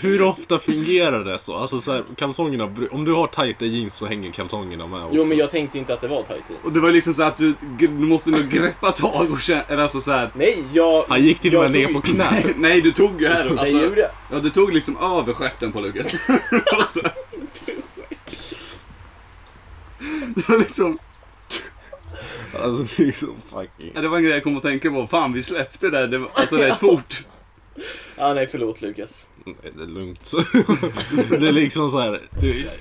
[SPEAKER 3] Hur ofta fungerar det så? Alltså så här, kalsongerna, bru- om du har tajta jeans så hänger kalsongerna med också.
[SPEAKER 2] Jo, men jag tänkte inte att det var tight jeans.
[SPEAKER 1] Och det var liksom så att du, du måste nog greppa tag och känna, eller alltså så här.
[SPEAKER 2] Nej, jag...
[SPEAKER 3] Han gick till och
[SPEAKER 2] jag
[SPEAKER 3] med ner
[SPEAKER 2] tog-
[SPEAKER 3] på knä.
[SPEAKER 1] Nej du tog ju här och-
[SPEAKER 2] Nej, jag
[SPEAKER 1] alltså,
[SPEAKER 2] gjorde...
[SPEAKER 1] ja, du tog liksom över stjärten på Lukas. Alltså. det var liksom,
[SPEAKER 3] Alltså det är så fucking...
[SPEAKER 1] ja, det var en grej jag kom att tänka på, fan vi släppte det, det var- alltså rätt fort.
[SPEAKER 2] Ah, nej, förlåt Lukas.
[SPEAKER 3] Nej, det är lugnt. Så. det är liksom så här. Du, jag,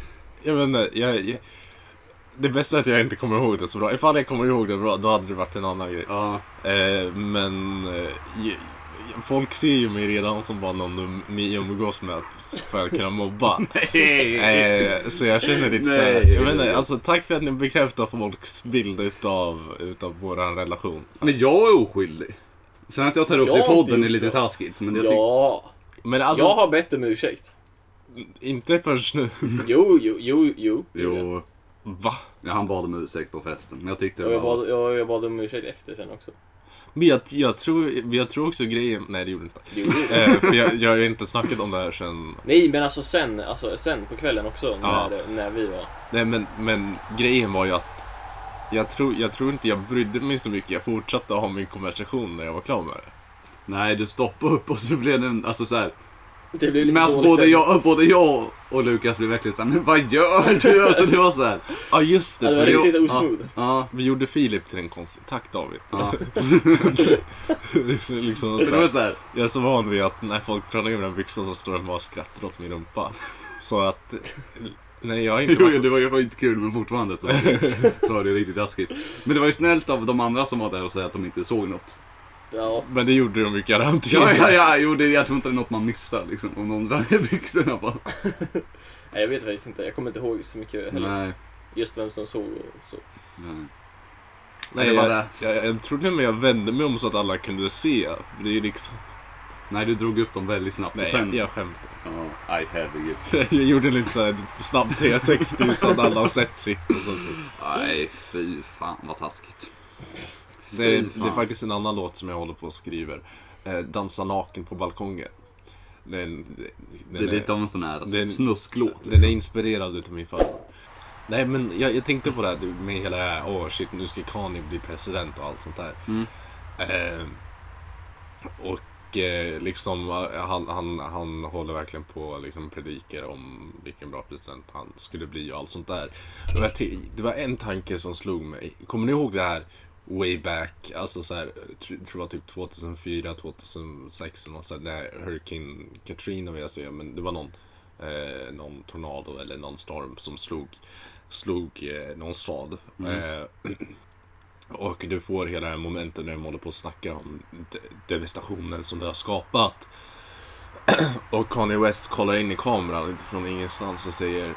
[SPEAKER 3] jag vet inte. Jag, jag, det bästa är att jag inte kommer ihåg det så bra. Ifall jag kommer ihåg det bra, då hade det varit en annan grej.
[SPEAKER 1] Ja,
[SPEAKER 3] Eh, men... Eh, jag, jag- folk ser ju mig redan som bara någon du- ni umgås med för att kunna mobba. Eh, så jag känner lite så här,
[SPEAKER 1] Nej.
[SPEAKER 3] Jag vet inte, alltså tack för att ni bekräftar folks bild utav, utav våran relation.
[SPEAKER 1] men jag är oskyldig. Sen att jag tar upp det i
[SPEAKER 2] Jag har inte
[SPEAKER 1] podden är
[SPEAKER 2] gjort
[SPEAKER 1] lite
[SPEAKER 2] det.
[SPEAKER 1] taskigt, men jag tycker...
[SPEAKER 2] Ja,
[SPEAKER 3] Men alltså,
[SPEAKER 2] jag har bett om ursäkt.
[SPEAKER 3] inte förrän nu.
[SPEAKER 2] Jo, jo, jo, jo.
[SPEAKER 1] Jo,
[SPEAKER 3] Va?
[SPEAKER 1] ja, han bad om ursäkt på festen, men jag tyckte
[SPEAKER 2] Och
[SPEAKER 1] det
[SPEAKER 2] jag
[SPEAKER 1] var...
[SPEAKER 2] bad, jag, jag bad om ursäkt efter sen också.
[SPEAKER 3] Men jag, jag, tror, jag tror också grejen... Nej, det gjorde jag inte.
[SPEAKER 2] Jo, jo.
[SPEAKER 3] Eh, för jag, jag har ju inte snackat om det här sen...
[SPEAKER 2] Nej, men alltså sen, alltså sen på kvällen också
[SPEAKER 3] Ja.
[SPEAKER 2] när, när vi var...
[SPEAKER 3] Nej, men, men grejen var ju att... Jag tror, jag tror inte jag brydde mig så mycket. Jag fortsatte ha min konversation när jag var klar med det.
[SPEAKER 1] Nej, du stoppade upp och så blev det en, alltså så här.
[SPEAKER 2] Det blev lite
[SPEAKER 1] Men alltså,
[SPEAKER 2] dålig
[SPEAKER 1] både
[SPEAKER 2] stämning.
[SPEAKER 1] jag, både jag och Lukas blev verkligen såhär, men vad gör du? Alltså det var såhär.
[SPEAKER 3] Ja, just det.
[SPEAKER 2] Ja, det var
[SPEAKER 3] för vi,
[SPEAKER 2] riktigt osmooth.
[SPEAKER 1] Ja.
[SPEAKER 3] vi gjorde Filip till en konstig... Tack David.
[SPEAKER 1] ja.
[SPEAKER 3] Det är liksom
[SPEAKER 1] Så
[SPEAKER 3] så
[SPEAKER 1] det var
[SPEAKER 3] här,
[SPEAKER 1] såhär,
[SPEAKER 3] jag är så van vid att när folk drar ner mina byxor så står de bara och skrattar åt min rumpa. Så att... Nej, jag har inte
[SPEAKER 1] jo,
[SPEAKER 3] varit...
[SPEAKER 1] det var ju inte kul men fortfarande så, så var det riktigt taskigt. Men det var ju snällt av de andra som var där att säga att de inte såg något.
[SPEAKER 2] Ja,
[SPEAKER 3] Men det gjorde de ju garanterat.
[SPEAKER 1] Ja, ja, ja, jo, det, jag tror inte det är något man missar liksom, om någon drar ner byxorna bara.
[SPEAKER 2] nej, jag vet faktiskt inte. Jag kommer inte ihåg så mycket heller.
[SPEAKER 1] Nej,
[SPEAKER 2] Just vem som såg och så.
[SPEAKER 1] nej.
[SPEAKER 3] Nej,
[SPEAKER 1] Det var
[SPEAKER 3] jag, jag, jag trodde men jag vände mig om så att alla kunde se. För det är ju liksom...
[SPEAKER 1] Nej, du drog upp dem väldigt snabbt.
[SPEAKER 3] Nej,
[SPEAKER 1] och sen...
[SPEAKER 3] jag skämtar.
[SPEAKER 1] Ja, nej, herregud.
[SPEAKER 3] Jag gjorde lite såhär snabb 360 så att alla har sett sitt och sånt.
[SPEAKER 1] Nej, fy fan vad taskigt.
[SPEAKER 3] Det är,
[SPEAKER 1] Fy fan.
[SPEAKER 3] det är faktiskt en annan låt som jag håller på och skriver. Eh, Dansa naken på balkongen. Den,
[SPEAKER 1] Det är lite av en sån här
[SPEAKER 3] det är en-
[SPEAKER 1] snusklåt.
[SPEAKER 3] Den är inspirerad utav min farfar. Nej men jag, jag tänkte på det här du, med hela det här, åh shit nu ska Kanye bli president och allt sånt där.
[SPEAKER 1] Mm.
[SPEAKER 3] Eh, och eh, liksom eh, han, han, han håller verkligen på och liksom predikar om vilken bra president han skulle bli och allt sånt där. Och jag te- det var en tanke som slog mig. Kommer ni ihåg det här way back, alltså så här, tr- tror jag var typ 2004, 2006 eller något sånt där, när Hurricane Katrina var jag så, ja, men det var någon, eh, någon tornado eller någon storm som slog, slog eh, någon stad. Eh, och du får hela det här momentet när de håller på och snackar om de- devastationen som det har skapat. Och Kanye West kollar in i kameran utifrån ingenstans och säger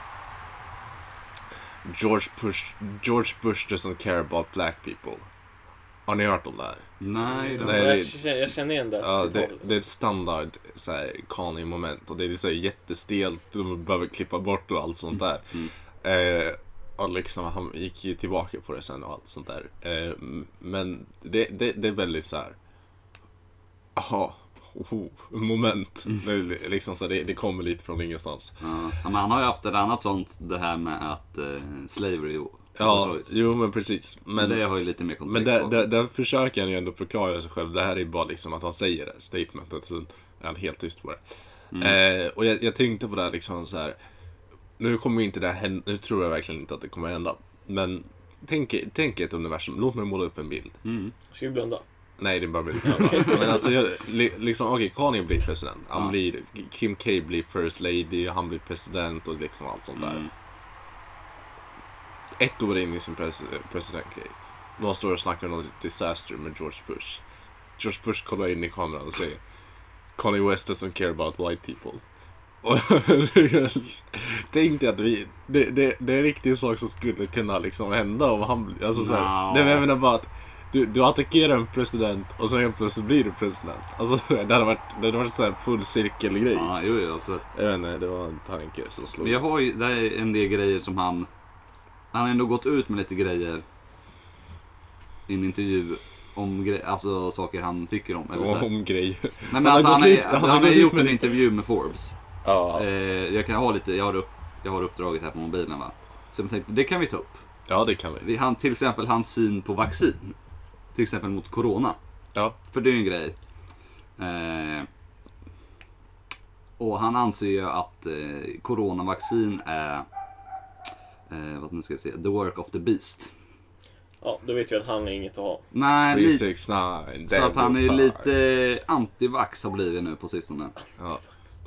[SPEAKER 3] George Bush, George Bush doesn't care about black people. Har ni hört om det här?
[SPEAKER 1] Nej, den...
[SPEAKER 3] Nej,
[SPEAKER 1] Nej.
[SPEAKER 2] jag,
[SPEAKER 3] det-
[SPEAKER 2] känner, jag känner igen det här
[SPEAKER 3] Ja, det,
[SPEAKER 2] citatet.
[SPEAKER 3] det är ett standard så här, Kanye-moment och det är så här, jättestelt, de behöver klippa bort och allt sånt där. Eh, och liksom, han gick ju tillbaka på det sen och allt sånt där. Eh, m- men det, det, det är väldigt så här. Aha, oh, moment. Det, är liksom, så här, det, det kommer lite från ingenstans.
[SPEAKER 1] Ja, men han har ju haft ett annat sånt, det här med att eh, slavery och...
[SPEAKER 3] Ja,
[SPEAKER 1] alltså, så-
[SPEAKER 3] jo men precis. Men,
[SPEAKER 1] men det har ju lite mer kontext.
[SPEAKER 3] Men där,
[SPEAKER 1] bakom.
[SPEAKER 3] där, där försöker han ju ändå förklara sig själv. Det här är ju bara liksom att han säger det, statementet. Så är han helt tyst på det. Eh, och jag, jag tänkte på det här liksom så här. Nu kommer ju inte det här hända. Nu tror jag verkligen inte att det kommer hända. Men tänk, tänk ett universum. Låt mig måla upp en bild.
[SPEAKER 2] Ska vi blunda?
[SPEAKER 3] Nej, det är bara väldigt snabbt. Men alltså, jag, li, liksom, okej, Kanye blir president. Han
[SPEAKER 1] Ja.
[SPEAKER 3] blir, Kim K blir first lady, han blir president och liksom allt sånt där.
[SPEAKER 1] Mm.
[SPEAKER 3] Ett år in i sin pres, presidentgrej. Någon står och snackar om något disaster med George Bush. George Bush kollar in i kameran och säger Kanye West doesn't care about white people. Och tänkte att vi, det, det, det är en riktig sak som skulle kunna liksom hända om han blir- alltså så här,
[SPEAKER 1] Nja.
[SPEAKER 3] Nej men jag menar bara att du, du attackerar en president och sen helt plötsligt blir du president. Alltså det hade varit, det hade varit så här full cirkelgrej.
[SPEAKER 1] Ja, jo, jo, absolut.
[SPEAKER 3] Jag vet inte, det var en tanke som slog.
[SPEAKER 1] Men jag har ju, det här är en del grejer som han... Han har ändå gått ut med lite grejer i en intervju om gre- alltså, saker han tycker om. Eller så här.
[SPEAKER 3] Om grejer.
[SPEAKER 1] Nej, men
[SPEAKER 3] har
[SPEAKER 1] alltså,
[SPEAKER 3] gått
[SPEAKER 1] han, är,
[SPEAKER 3] ut- han har
[SPEAKER 1] han har
[SPEAKER 3] gått ut
[SPEAKER 1] gjort
[SPEAKER 3] med
[SPEAKER 1] en
[SPEAKER 3] lite-
[SPEAKER 1] intervju med Forbes.
[SPEAKER 3] Ja.
[SPEAKER 1] Eh, jag kan ha lite, jag har, upp, jag har uppdraget här på mobilen va. Så jag tänkte, det kan vi ta upp.
[SPEAKER 3] ja, det kan vi.
[SPEAKER 1] Vi, han, till exempel hans syn på vaccin. Till exempel mot corona.
[SPEAKER 3] Ja.
[SPEAKER 1] För det är ju en grej. Eh, och han anser ju att eh, coronavaccin är, eh, vad nu ska vi se, the work of the beast.
[SPEAKER 2] Ja, då vet vi att han är inget att ha.
[SPEAKER 1] Nej,
[SPEAKER 3] Three,
[SPEAKER 1] lite,
[SPEAKER 3] six, nine,
[SPEAKER 1] så att han är ju
[SPEAKER 3] devil five.
[SPEAKER 1] lite antivax har blivit nu på sistone.
[SPEAKER 3] Ja.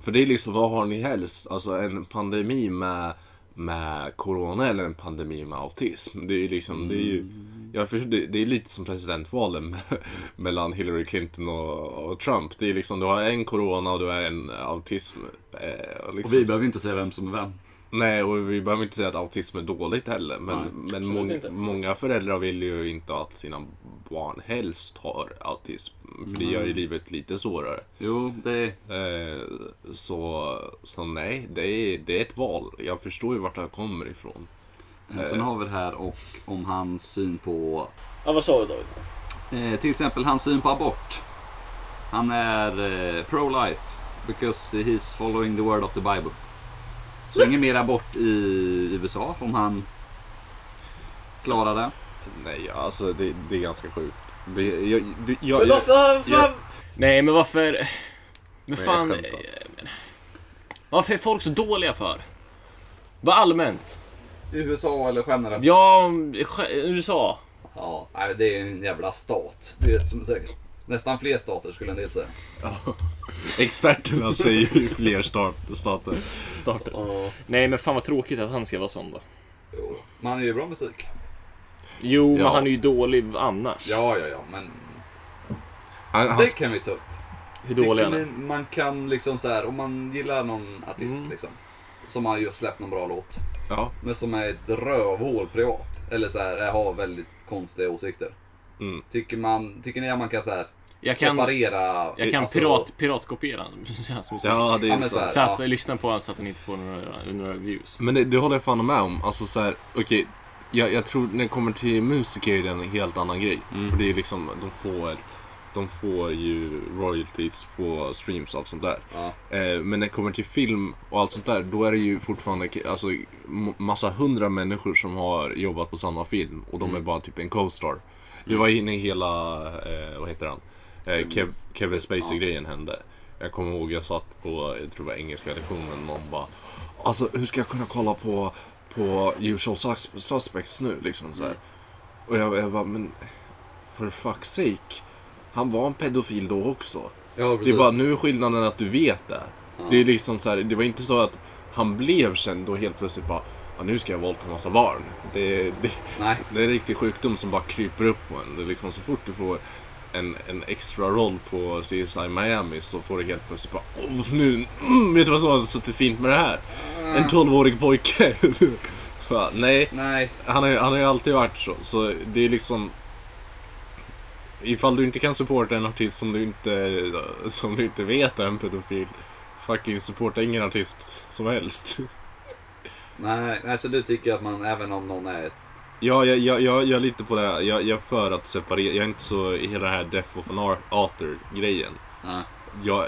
[SPEAKER 3] För det är liksom, vad har ni helst? Alltså en pandemi med, med corona eller en pandemi med autism? Det är ju liksom, det är ju... Jag förstår, det, det är lite som presidentvalen med, mellan Hillary Clinton och, och Trump. Det är liksom, du har en corona och du har en autism. Eh, och
[SPEAKER 1] Och
[SPEAKER 3] liksom,
[SPEAKER 1] vi behöver ju inte säga vem som är vem.
[SPEAKER 3] Nej, och vi behöver inte säga att autism är dåligt heller. Men,
[SPEAKER 1] Nej,
[SPEAKER 3] men
[SPEAKER 2] absolut
[SPEAKER 3] mång-
[SPEAKER 2] inte.
[SPEAKER 3] många föräldrar vill ju inte att sina barn helst har autism. För det gör ju livet lite svårare.
[SPEAKER 1] Jo, det är...
[SPEAKER 3] Eh, så, så nej, det är, det är ett val. Jag förstår ju vart det här kommer ifrån.
[SPEAKER 1] Eh, Sen har vi det här och om hans syn på...
[SPEAKER 2] Ja, vad sa du David?
[SPEAKER 1] Eh, till exempel hans syn på abort. Han är eh, pro-life. Because he's following the word of the Bible. Så ingen mer abort i USA om han klarar det.
[SPEAKER 3] Nej, alltså det, det är ganska sjukt. Det, jag, det, jag,
[SPEAKER 2] Men
[SPEAKER 3] jag,
[SPEAKER 2] varför? varför?
[SPEAKER 3] jag-
[SPEAKER 4] Nej, men varför... Men
[SPEAKER 3] jag
[SPEAKER 4] fan...
[SPEAKER 3] skämtar.
[SPEAKER 4] eh, men- Varför är folk så dåliga för? Bara allmänt.
[SPEAKER 1] USA eller generellt?
[SPEAKER 4] Ja, sk- USA.
[SPEAKER 1] Ja, nej, det är en jävla stat. Det är som säkert. Nästan fler stater skulle en del säga.
[SPEAKER 3] experterna säger ju fler start, stater.
[SPEAKER 4] Startar.
[SPEAKER 2] Ja.
[SPEAKER 4] Nej, men fan vad tråkigt att han ska vara sån då.
[SPEAKER 1] Jo. Man är ju bra musik.
[SPEAKER 4] Jo,
[SPEAKER 3] Ja.
[SPEAKER 4] men han är ju dålig annars.
[SPEAKER 1] Ja, ja, ja, men
[SPEAKER 3] Han, han,
[SPEAKER 1] det kan vi ta upp.
[SPEAKER 4] Hur dålig han
[SPEAKER 1] Tycker
[SPEAKER 4] är.
[SPEAKER 1] ni man kan liksom så här, om man gillar någon artist liksom. Som har just släppt någon bra låt.
[SPEAKER 3] ja,
[SPEAKER 1] Men som är ett rövhål privat. Eller så här, har väldigt konstiga åsikter.
[SPEAKER 3] Mm.
[SPEAKER 1] Tycker, man, tycker ni att man kan så här,
[SPEAKER 4] Jag kan,
[SPEAKER 1] separera?
[SPEAKER 4] jag kan
[SPEAKER 1] alltså-
[SPEAKER 4] pirat, piratkopiera hans musik.
[SPEAKER 3] ja, det
[SPEAKER 1] Ja,
[SPEAKER 3] är
[SPEAKER 1] men
[SPEAKER 3] så.
[SPEAKER 1] så här.
[SPEAKER 4] Så att lyssna på honom så att han inte får några, några views.
[SPEAKER 3] Men det, det håller jag fan med om. Alltså så här, okej. jag, jag tror när det kommer till musiker är det en helt annan grej. För det är liksom, de får, de får ju royalties på streams och allt sånt där.
[SPEAKER 1] Ja.
[SPEAKER 3] Eh, men när det kommer till film och allt sånt där, då är det ju fortfarande k- alltså, m- massa hundra människor som har jobbat på samma film och de är bara typ en co-star. Det var inne i hela, eh, vad heter han, eh, Kev, Kevin Spacey-grejen hände. Jag kommer ihåg jag satt på, jag tror det var engelska lektionen, någon bara Alltså hur ska jag kunna kolla på, på usual sus- suspects nu liksom så här. Och jag, jag bara, men for fuck's sake. Han var en pedofil då också.
[SPEAKER 1] Ja,
[SPEAKER 3] Det
[SPEAKER 1] precis.
[SPEAKER 3] är bara nu är skillnaden att du vet det. Det är liksom så här, det var inte så att han blev känd och helt plötsligt bara ja, nu ska jag våldta en massa barn. Det, det,
[SPEAKER 1] Nej.
[SPEAKER 3] det är en riktig sjukdom som bara kryper upp på en. Det är liksom så fort du får en, en extra roll på CSI Miami så får du helt plötsligt bara oh, nu, mm, vet du vad som har suttit fint med det här? En 12-årig pojke. Bara, Nej,
[SPEAKER 1] Nej.
[SPEAKER 3] han har, ju- han har ju alltid varit så. Så det är liksom... Ifall du inte kan supporta en artist som du inte, som du inte vet är en pedofil. Fucking supporta ingen artist som helst.
[SPEAKER 1] Nej, nej, så du tycker att man även om någon är...
[SPEAKER 3] Ja, jag, jag, jag, jag är lite på det här. Jag, jag är för att separera. Jag är inte så i hela den här Death of an Ar- Author-grejen.
[SPEAKER 1] Nej.
[SPEAKER 3] Jag,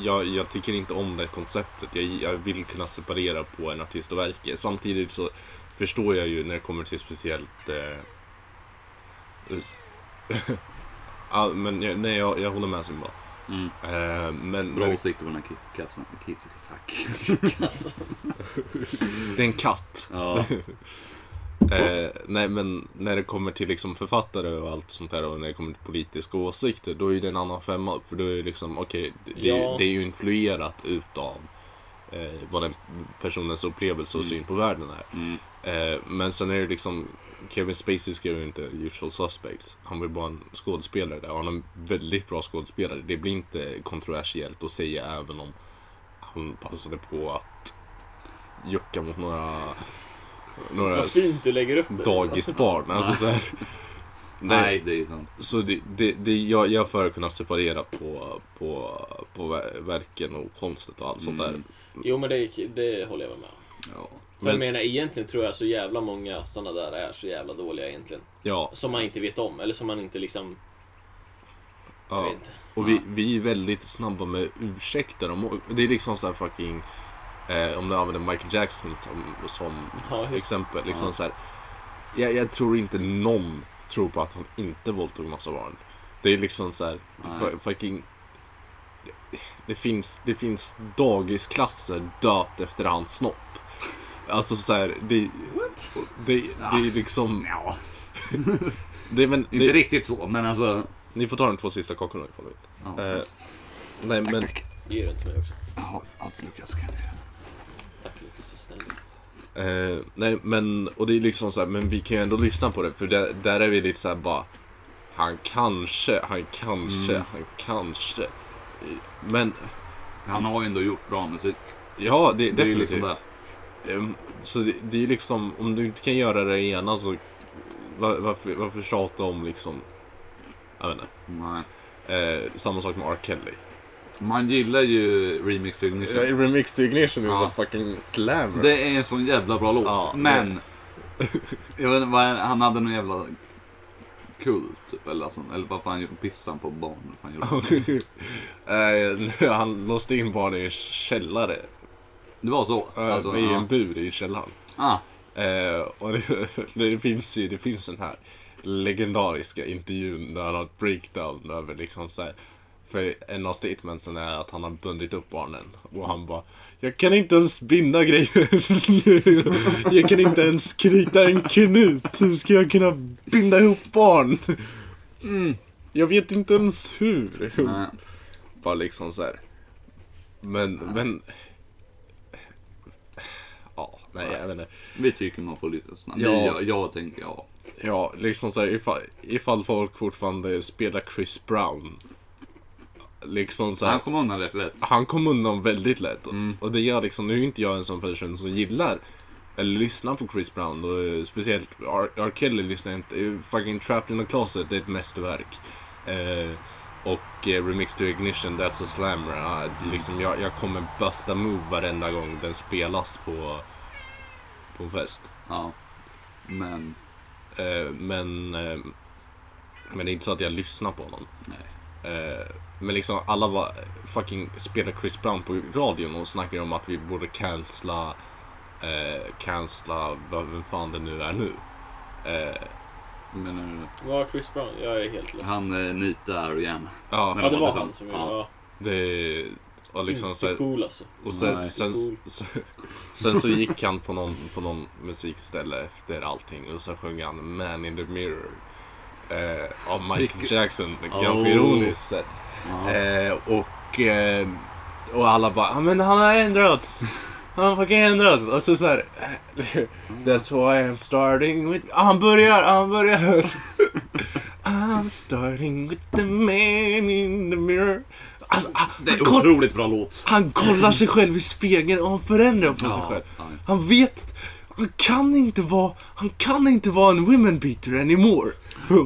[SPEAKER 3] jag, jag tycker inte om det konceptet. Jag, jag vill kunna separera på en artist och verket. Samtidigt så förstår jag ju när det kommer till speciellt... Eh, us- ja, men jag, nej, jag, jag håller med Simba.
[SPEAKER 1] Mm.
[SPEAKER 3] Eh, men,
[SPEAKER 1] Bra
[SPEAKER 3] men
[SPEAKER 1] åsikter på den här ki- kassen. Kids, fuck.
[SPEAKER 2] Alltså,
[SPEAKER 3] det är en katt.
[SPEAKER 1] Ja.
[SPEAKER 3] Eh, nej, men när det kommer till liksom författare och allt sånt där och när det kommer till politiska åsikter då är ju det en annan femma. För då är det liksom, okej, det, är ju-
[SPEAKER 2] Ja.
[SPEAKER 3] det är ju influerat utav eh, vad den personens upplevelse och syn på världen är.
[SPEAKER 1] Mm.
[SPEAKER 3] Eh, men sen är det liksom, Kevin Spacey skrev ju inte Usual Suspects. Han var ju bara en skådespelare där och han är en väldigt bra skådespelare. Det blir inte kontroversiellt att säga även om han passade på att jucka mot några, några
[SPEAKER 2] vad fint du lägger upp det.
[SPEAKER 3] dagisbarn. Alltså, så här,
[SPEAKER 1] Nej.
[SPEAKER 3] Nej.
[SPEAKER 1] det är ju sant.
[SPEAKER 3] Så det, det, det, jag, jag för att kunna separera på, på, på ver- verken och konstet och allt sånt där.
[SPEAKER 1] Mm.
[SPEAKER 2] Jo men det, det håller jag väl med om.
[SPEAKER 1] Ja.
[SPEAKER 2] För jag
[SPEAKER 3] Men-
[SPEAKER 2] menar egentligen tror jag så jävla många sådana där är så jävla dåliga egentligen.
[SPEAKER 3] Ja,
[SPEAKER 2] Som man inte vet om, eller som man inte liksom... Jag
[SPEAKER 3] ja.
[SPEAKER 2] vet inte.
[SPEAKER 3] Och vi, vi är väldigt snabba med ursäkter. Om, det är liksom så här fucking... Eh, om du använder Michael Jackson som, som
[SPEAKER 2] Ja, just-
[SPEAKER 3] exempel. Liksom så här, jag, jag tror inte någon tror på att han inte våldtog massa barn. Det är liksom så här,
[SPEAKER 1] Nej.
[SPEAKER 3] fu- fucking... Det finns, det finns dagisklasser döpt efter hans snopp. Alltså så här, det, det, det är liksom...
[SPEAKER 1] ja.
[SPEAKER 3] Det, är men,
[SPEAKER 1] Inte
[SPEAKER 3] det,
[SPEAKER 1] riktigt så, men alltså...
[SPEAKER 3] ni får ta de två sista kakorna ifall ni vill.
[SPEAKER 1] Ja,
[SPEAKER 3] Eh,
[SPEAKER 1] snällt.
[SPEAKER 3] nej men...
[SPEAKER 2] Ge den till mig också.
[SPEAKER 1] Ja, allt Lukas kan det.
[SPEAKER 2] Tack Lukas, vad snäll
[SPEAKER 3] Eh, nej men, och det är liksom så här, men vi kan ju ändå lyssna på det för där, där är vi lite så här bara Han kanske, han kanske, han kanske Men,
[SPEAKER 1] Han har ju ändå gjort bra musik.
[SPEAKER 3] ja det,
[SPEAKER 1] Det är ju
[SPEAKER 3] definitivt
[SPEAKER 1] liksom det.
[SPEAKER 3] Ehm, Så det, det är liksom, om du inte kan göra det ena så var, varför, varför tjata om liksom, jag vet inte,
[SPEAKER 1] Nej.
[SPEAKER 3] eh, samma sak med R. Kelly.
[SPEAKER 1] Man gillar ju Remix to Ignition.
[SPEAKER 3] Remix to Ignition är
[SPEAKER 1] Ja.
[SPEAKER 3] så fucking slammer.
[SPEAKER 1] Det är en sån jävla bra låt.
[SPEAKER 3] Ja,
[SPEAKER 1] men... Jag vet inte, vad är- han hade någon jävla kult typ. Eller, alltså, eller vad fan gjorde pissan på barn? Vad fan gjorde han?
[SPEAKER 3] Eh, nu, han låste in barnen i en källare.
[SPEAKER 1] Det var så?
[SPEAKER 3] Eh,
[SPEAKER 1] Alltså,
[SPEAKER 3] I
[SPEAKER 1] ja.
[SPEAKER 3] en bur i källaren.
[SPEAKER 1] ah,
[SPEAKER 3] Eh, och det, det finns ju, det finns den här legendariska intervjun där han har ett breakdown över liksom så här. För en av statementsen är att han har bundit upp barnen. Och han bara Jag kan inte ens binda grejer. jag kan inte ens knyta en knut. Hur ska jag kunna binda ihop barn? Mm, Jag vet inte ens hur.
[SPEAKER 1] nej.
[SPEAKER 3] Bara liksom så här. Men, men. Ja, nej jag vet inte.
[SPEAKER 1] Vi tycker man får lyssna snabbt.
[SPEAKER 3] Ja.
[SPEAKER 1] Ja. Jag, jag tänker, ja.
[SPEAKER 3] Ja, liksom så här, ifall, ifall folk fortfarande spelar Chris Brown. Liksom så här,
[SPEAKER 1] Han kom undan rätt lätt.
[SPEAKER 3] han kom undan väldigt lätt. Och, och det gör liksom, nu är inte jag en sån person som gillar eller lyssnar på Chris Brown. Och, eh, speciellt R. R. Kelly lyssnar jag inte. Eh, Fucking Trapped in a Closet, det är ett mästerverk. Eh, och eh, Remix to Ignition, That's a Slammer. Ah, det liksom, jag, jag kommer busta move varenda gång den spelas på, på en fest.
[SPEAKER 1] Ja. Men,
[SPEAKER 3] Eh, men, eh, men det är inte så att jag lyssnar på honom.
[SPEAKER 1] nej.
[SPEAKER 3] Eh, men liksom alla var fucking spelar Chris Brown på radion och snackar om att vi borde cancella, eh, cancella vad vem fan det nu är nu. Eh,
[SPEAKER 1] Men eh,
[SPEAKER 2] Ja, Chris Brown. Jag är helt lost.
[SPEAKER 1] han eh, nitar och gärna.
[SPEAKER 3] ja,
[SPEAKER 1] Men-
[SPEAKER 2] Ja, det var
[SPEAKER 1] Ja.
[SPEAKER 2] han som gjorde ja.
[SPEAKER 3] det och liksom
[SPEAKER 2] Inte
[SPEAKER 3] så,
[SPEAKER 2] cool alltså.
[SPEAKER 3] och sen,
[SPEAKER 1] Nej.
[SPEAKER 3] sen,
[SPEAKER 2] Cool.
[SPEAKER 3] så, sen så gick han på någon, på någon musikställe efter allting och så sjöng han Man in the Mirror. Eh, av Michael
[SPEAKER 1] Vilket-
[SPEAKER 3] Jackson,
[SPEAKER 1] Oh.
[SPEAKER 3] ganska ironiskt sett.
[SPEAKER 1] Ja.
[SPEAKER 3] Eh, och, eh, och alla bara, "Ah, men han har ändrats. Han har fucking ändrats. Och så såhär, that's why I'm starting with... Ah, han börjar, ah, han börjar. I'm starting with the man in the mirror. Alltså, ah,
[SPEAKER 1] Det är
[SPEAKER 3] han, koll,
[SPEAKER 1] otroligt bra låt.
[SPEAKER 3] han kollar sig själv i spegeln och han förändrar på sig
[SPEAKER 1] Ja,
[SPEAKER 3] själv.
[SPEAKER 1] ja.
[SPEAKER 3] Han vet, han kan inte vara, han kan inte vara en women beater anymore.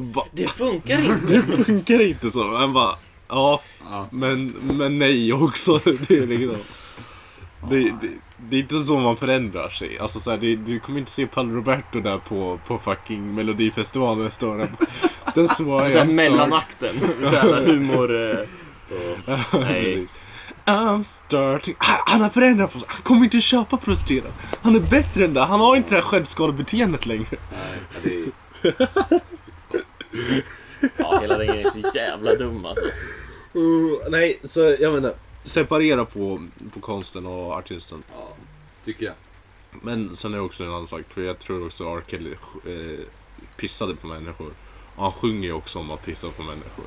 [SPEAKER 3] Bara,
[SPEAKER 2] Det funkar inte!
[SPEAKER 3] det funkar inte så. Han bara, ja.
[SPEAKER 1] Ja.
[SPEAKER 3] Men, men nej också. Det är, liksom, det, det, det är inte så man förändrar sig. Alltså, så här, det, du kommer inte se Paolo Roberto där på, på fucking Melodifestivalen nästa år. Han bara, That's
[SPEAKER 2] typ
[SPEAKER 1] Alltså,
[SPEAKER 3] why
[SPEAKER 4] Såhär
[SPEAKER 3] I'm starting.
[SPEAKER 4] mellanakten. Såhär humor... eh, och- Nej.
[SPEAKER 3] Precis. I'm starting. Han, han har förändrat på sig. Han kommer inte köpa prostituerade. Han är bättre än det. Han har inte det här självskadebeteendet längre.
[SPEAKER 1] Nej, det är...
[SPEAKER 4] Ja, hela den grejen är så jävla dum alltså.
[SPEAKER 3] Uh, nej, så jag menar. Separera på, på konsten och artisten.
[SPEAKER 1] Ja, tycker jag.
[SPEAKER 3] Men sen är det också en annan sak, för jag tror också R. Kelly eh, pissade på människor. Och han sjunger ju också om att pissa på människor.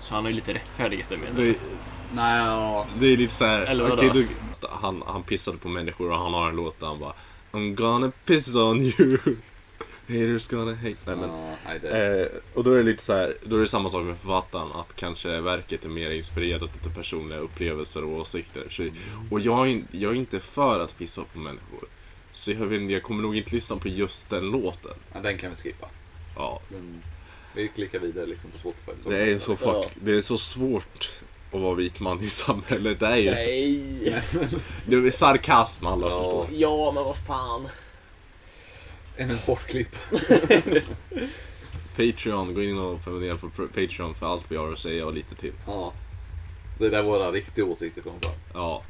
[SPEAKER 4] Så han har ju lite rättfärdigat det menar
[SPEAKER 3] Det,
[SPEAKER 1] Nej, ja.
[SPEAKER 3] det är lite såhär,
[SPEAKER 4] Eller vadå?
[SPEAKER 3] okej du... Han, han pissade på människor och han har en låt där han bara I'm gonna piss on you. Haters gonna hate. Nej, men,
[SPEAKER 1] Ja, nej, det...
[SPEAKER 3] eh, och då är det lite så här, då är det samma sak med författaren, att kanske verket är mer inspirerat av personliga upplevelser och åsikter. Så, och jag är, in- jag är inte för att pissa på människor. Så jag, vet, inte, jag kommer nog inte lyssna på just den låten.
[SPEAKER 1] Ja, den kan vi skippa.
[SPEAKER 3] Ja,
[SPEAKER 1] Den... Vi klickar vidare liksom på Spotify.
[SPEAKER 3] det är så
[SPEAKER 2] Ja.
[SPEAKER 3] fuck, det är så svårt att vara vit man i samhället. Det är ju
[SPEAKER 2] Nej!
[SPEAKER 3] det är sarkasm alla förstår.
[SPEAKER 2] Ja, men vad fan.
[SPEAKER 1] En sportklipp.
[SPEAKER 3] Patreon, gå in och prenumerera på Patreon för allt vi har att säga och lite till.
[SPEAKER 1] Ja. Det är där våra riktiga åsikter kommer fram.
[SPEAKER 3] Ja.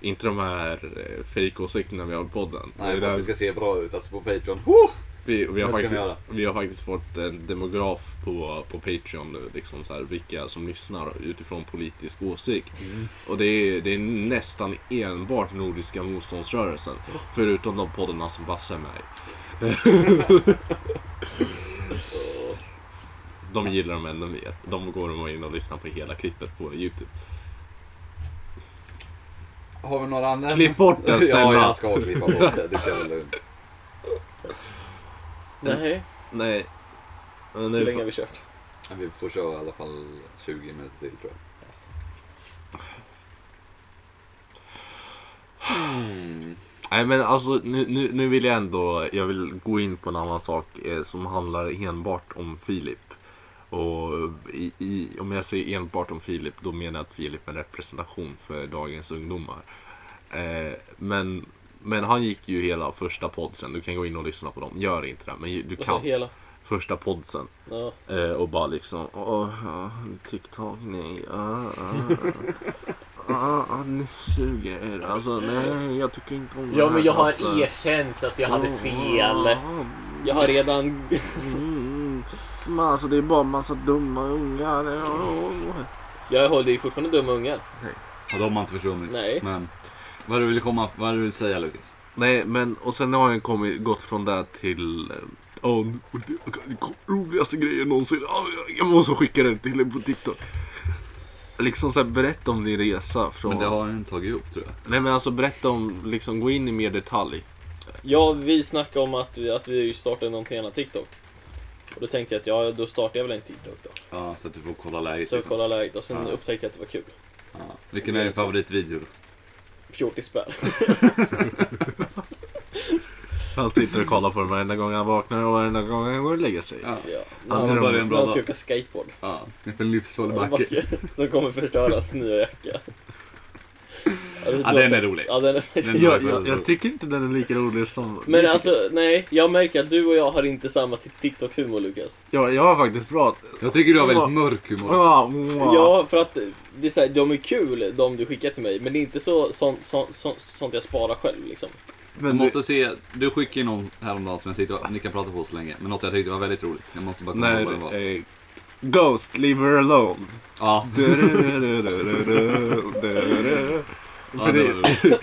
[SPEAKER 3] Inte de här eh, fake-åsikterna vi har i podden.
[SPEAKER 1] Nej,
[SPEAKER 3] Det
[SPEAKER 1] för
[SPEAKER 3] är
[SPEAKER 1] att
[SPEAKER 3] där
[SPEAKER 1] vi ska se bra ut. Alltså på Patreon. Huh!
[SPEAKER 3] vi, vi, har
[SPEAKER 1] Vad ska vi
[SPEAKER 3] faktiskt,
[SPEAKER 1] göra?
[SPEAKER 3] vi har faktiskt fått en demograf på, på Patreon nu, liksom så här, vilka som lyssnar utifrån politisk åsikt.
[SPEAKER 1] Mm.
[SPEAKER 3] Och det är, det är nästan enbart Nordiska motståndsrörelsen, förutom de poddarna som Basse är med i. De gillar dem ännu mer. De går och in och lyssnar på hela klippet på Youtube.
[SPEAKER 1] Har vi några andra?
[SPEAKER 3] Klipp bort den
[SPEAKER 1] Ja,
[SPEAKER 3] snälla!
[SPEAKER 1] jag ska klippa bort det. Det känns lugnt.
[SPEAKER 2] Nej,
[SPEAKER 3] Nej. Men
[SPEAKER 2] hur
[SPEAKER 3] nu,
[SPEAKER 2] länge har
[SPEAKER 3] får-
[SPEAKER 2] vi kört?
[SPEAKER 1] Vi får köra i alla fall 20 minuter till tror jag. Mm.
[SPEAKER 3] Nej men alltså nu, nu, nu vill jag ändå, jag vill gå in på en annan sak eh, som handlar enbart om Filip. Och i, i, om jag säger enbart om Filip då menar jag att Filip är en representation för dagens ungdomar. Eh, men, men han gick ju hela första podsen, du kan gå in och lyssna på dem. Gör inte det, men ju- du
[SPEAKER 2] Och så
[SPEAKER 3] kan.
[SPEAKER 2] Alltså, hela.
[SPEAKER 3] Första podsen.
[SPEAKER 2] Ja.
[SPEAKER 3] Eh, och bara liksom, åh, ja, TikTok, nej, ah, ah, ah, ah, ni suger. Alltså nej, jag tycker inte om det
[SPEAKER 5] Ja
[SPEAKER 3] här
[SPEAKER 5] men jag har
[SPEAKER 3] pratet."
[SPEAKER 5] erkänt att jag hade fel.
[SPEAKER 3] Ja,
[SPEAKER 2] Jag har redan...
[SPEAKER 3] Mm. Men alltså det är bara massa dumma ungar.
[SPEAKER 2] Jag håller ju fortfarande dumma ungar.
[SPEAKER 1] Ja, de har inte försvunnit.
[SPEAKER 2] Nej.
[SPEAKER 1] Men vad är det du vill komma, vad är det du vill säga Lukas?
[SPEAKER 3] Nej men och sen har jag kommit, gått från det till eh, Åh, det kom roligaste grejen någonsin. Åh, jag- Jag måste skicka den till dig på TikTok. Liksom såhär, berätta om din resa från...
[SPEAKER 1] Men det har han inte tagit upp tror jag.
[SPEAKER 3] Nej men alltså berätta om, liksom gå in i mer detalj.
[SPEAKER 2] Ja, vi snackade om att vi, att vi startade någonting annat TikTok. Och då tänkte jag att ja, då startar jag väl en TikTok då.
[SPEAKER 1] Ja, så att du får kolla läget.
[SPEAKER 2] Så jag
[SPEAKER 1] Liksom.
[SPEAKER 2] kollade läget och sen
[SPEAKER 1] Ja.
[SPEAKER 2] upptäckte jag att det var kul.
[SPEAKER 1] Ja. Vilken är din favoritvideo?
[SPEAKER 2] Fjortisspel.
[SPEAKER 3] Han sitter och kollar på den varenda gång han vaknar och varenda gång han går och lägger sig.
[SPEAKER 1] Ja.
[SPEAKER 2] Ja.
[SPEAKER 1] Ja,
[SPEAKER 2] Någon-
[SPEAKER 1] det var en bra
[SPEAKER 2] någon
[SPEAKER 1] dag.
[SPEAKER 2] ska åka skateboard.
[SPEAKER 1] Ja, det är för en livsfarlig
[SPEAKER 2] Och en
[SPEAKER 1] backe.
[SPEAKER 2] backe Som kommer förstöras nya jacka. Ja, det
[SPEAKER 1] Ja, den är rolig.
[SPEAKER 2] Ja, den är...
[SPEAKER 1] Den är
[SPEAKER 3] Jag,
[SPEAKER 1] väldigt
[SPEAKER 3] jag, jag
[SPEAKER 1] rolig.
[SPEAKER 3] tycker inte den är lika rolig som...
[SPEAKER 2] Men alltså, nej. Jag märker att du och jag har inte samma TikTok-humor, Lukas.
[SPEAKER 3] Jag, jag har faktiskt bra...
[SPEAKER 1] jag tycker du har väldigt mörk humor.
[SPEAKER 3] Mwah, mwah.
[SPEAKER 2] Ja, för att det är så här, de är kul, de du skickar till mig. Men det är inte så, sånt så, så, sånt jag sparar själv liksom.
[SPEAKER 1] Jag
[SPEAKER 3] Men
[SPEAKER 1] måste se, du skickade ju någon häromdagen som jag tyckte var, ni kan prata på så länge, men något jag tyckte var väldigt roligt. Jag måste bara komma ihåg vad det var.
[SPEAKER 3] Nej, eh, Ghost, leave her alone.
[SPEAKER 1] Ja,
[SPEAKER 3] Du-du-du-du-du-du-du.
[SPEAKER 1] ja,
[SPEAKER 3] För
[SPEAKER 1] det
[SPEAKER 3] det-
[SPEAKER 1] var roligt.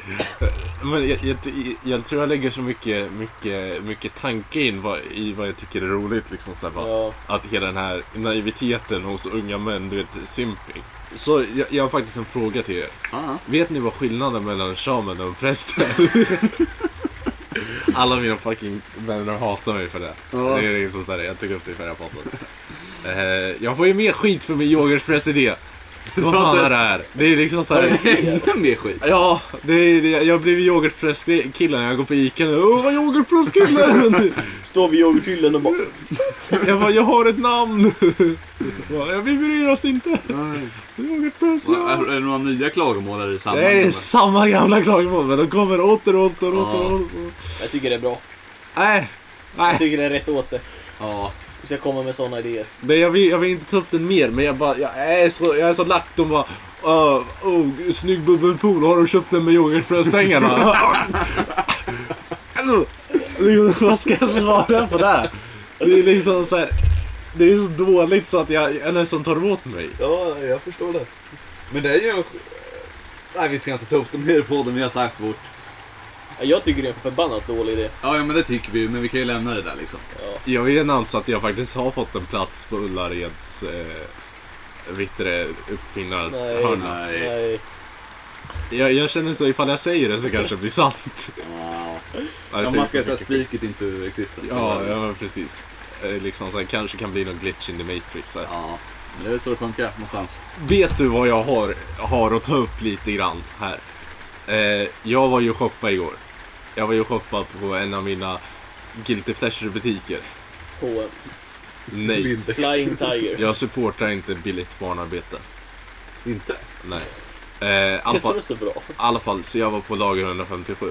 [SPEAKER 3] Men jag, jag, ty- jag tror jag lägger så mycket, mycket, mycket tanke in vad, i vad jag tycker är roligt. Liksom, så här, bara,
[SPEAKER 2] Ja.
[SPEAKER 3] Att hela den här naiviteten hos unga män, du vet, simping. Så jag, jag har faktiskt en fråga till er.
[SPEAKER 1] Ja,
[SPEAKER 3] Vet ni vad skillnaden mellan en shaman och en präst är? Alla mina fucking vänner hatar mig för det.
[SPEAKER 1] Ja.
[SPEAKER 3] Det är liksom sådär, jag tog upp det i förra podden. Eh, jag får ju mer skit för min yoghurtpressidé. Vad fan är det här? Det är liksom såhär...
[SPEAKER 1] Ännu mer skit.
[SPEAKER 3] Ja, det är, det- jag blev yoghurtpresskillen. Jag går på Ica nu. Åh, vad yoghurtpresskillen!
[SPEAKER 2] Står vid yoghurthyllan och bara...
[SPEAKER 3] Jag bara, jag har ett namn. Ja, Jag vi bryr oss inte. Yoghurtpress,
[SPEAKER 1] Va,
[SPEAKER 3] ja.
[SPEAKER 1] Är, är det några nya klagomål? Är det samma?
[SPEAKER 3] Det är samma gamla klagomål, men de kommer åter, åter, åter,
[SPEAKER 1] Ja.
[SPEAKER 3] åter.
[SPEAKER 2] Jag tycker det är bra.
[SPEAKER 3] Nej,
[SPEAKER 2] Jag
[SPEAKER 3] nej.
[SPEAKER 2] tycker det är rätt åt det.
[SPEAKER 1] Ja,
[SPEAKER 2] Du ska komma med såna idéer.
[SPEAKER 3] Det, jag, vill, jag vill inte ta upp den mer, men jag, bara, jag, är, så, jag är så lack. De bara... Uh, oh, snygg bubbelpool, har du köpt den med yoghurtpresspengarna? Liksom, Vad ska jag svara på det? här? Det är liksom så här, Det är så dåligt så att jag, jag nästan tar emot mig.
[SPEAKER 1] Ja, jag förstår det. Men det är ju... Nej, vi ska inte ta upp det mer på det, vi har sagt vårt.
[SPEAKER 2] Ja, Jag tycker det är en förbannat dålig idé.
[SPEAKER 1] Ja, ja, men det tycker vi, men vi kan ju lämna det där liksom.
[SPEAKER 3] Jag vet alltså att jag faktiskt har fått en plats på Ullareds eh, vittre
[SPEAKER 2] Nej.
[SPEAKER 3] uppfinnarhörna.
[SPEAKER 1] Nej.
[SPEAKER 2] Nej.
[SPEAKER 3] Jag, jag känner så ifall jag säger det så kanske det blir sant.
[SPEAKER 1] Ja,
[SPEAKER 3] Ja, jag
[SPEAKER 1] Om
[SPEAKER 3] säger
[SPEAKER 1] man
[SPEAKER 3] så
[SPEAKER 1] ska säga
[SPEAKER 3] mycket.
[SPEAKER 1] spiket inte existens.
[SPEAKER 3] Ja, ja men precis. Eh, Liksom så här, kanske kan bli någon glitch in the matrix. Så här.
[SPEAKER 1] ja. Men det är väl så det funkar någonstans.
[SPEAKER 3] Vet du vad jag har, har att ta upp lite grann här? Eh, jag var ju och shoppade igår. Jag var ju och shoppade på en av mina Guilty Pleasure-butiker.
[SPEAKER 2] H&M.
[SPEAKER 3] Nej,
[SPEAKER 2] Flying Tiger.
[SPEAKER 3] jag supportar inte billigt barnarbete.
[SPEAKER 1] Inte?
[SPEAKER 3] Nej. Eh, i alla
[SPEAKER 2] Det som
[SPEAKER 3] fall-
[SPEAKER 2] är så bra.
[SPEAKER 3] i alla fall, så jag var på lager 157.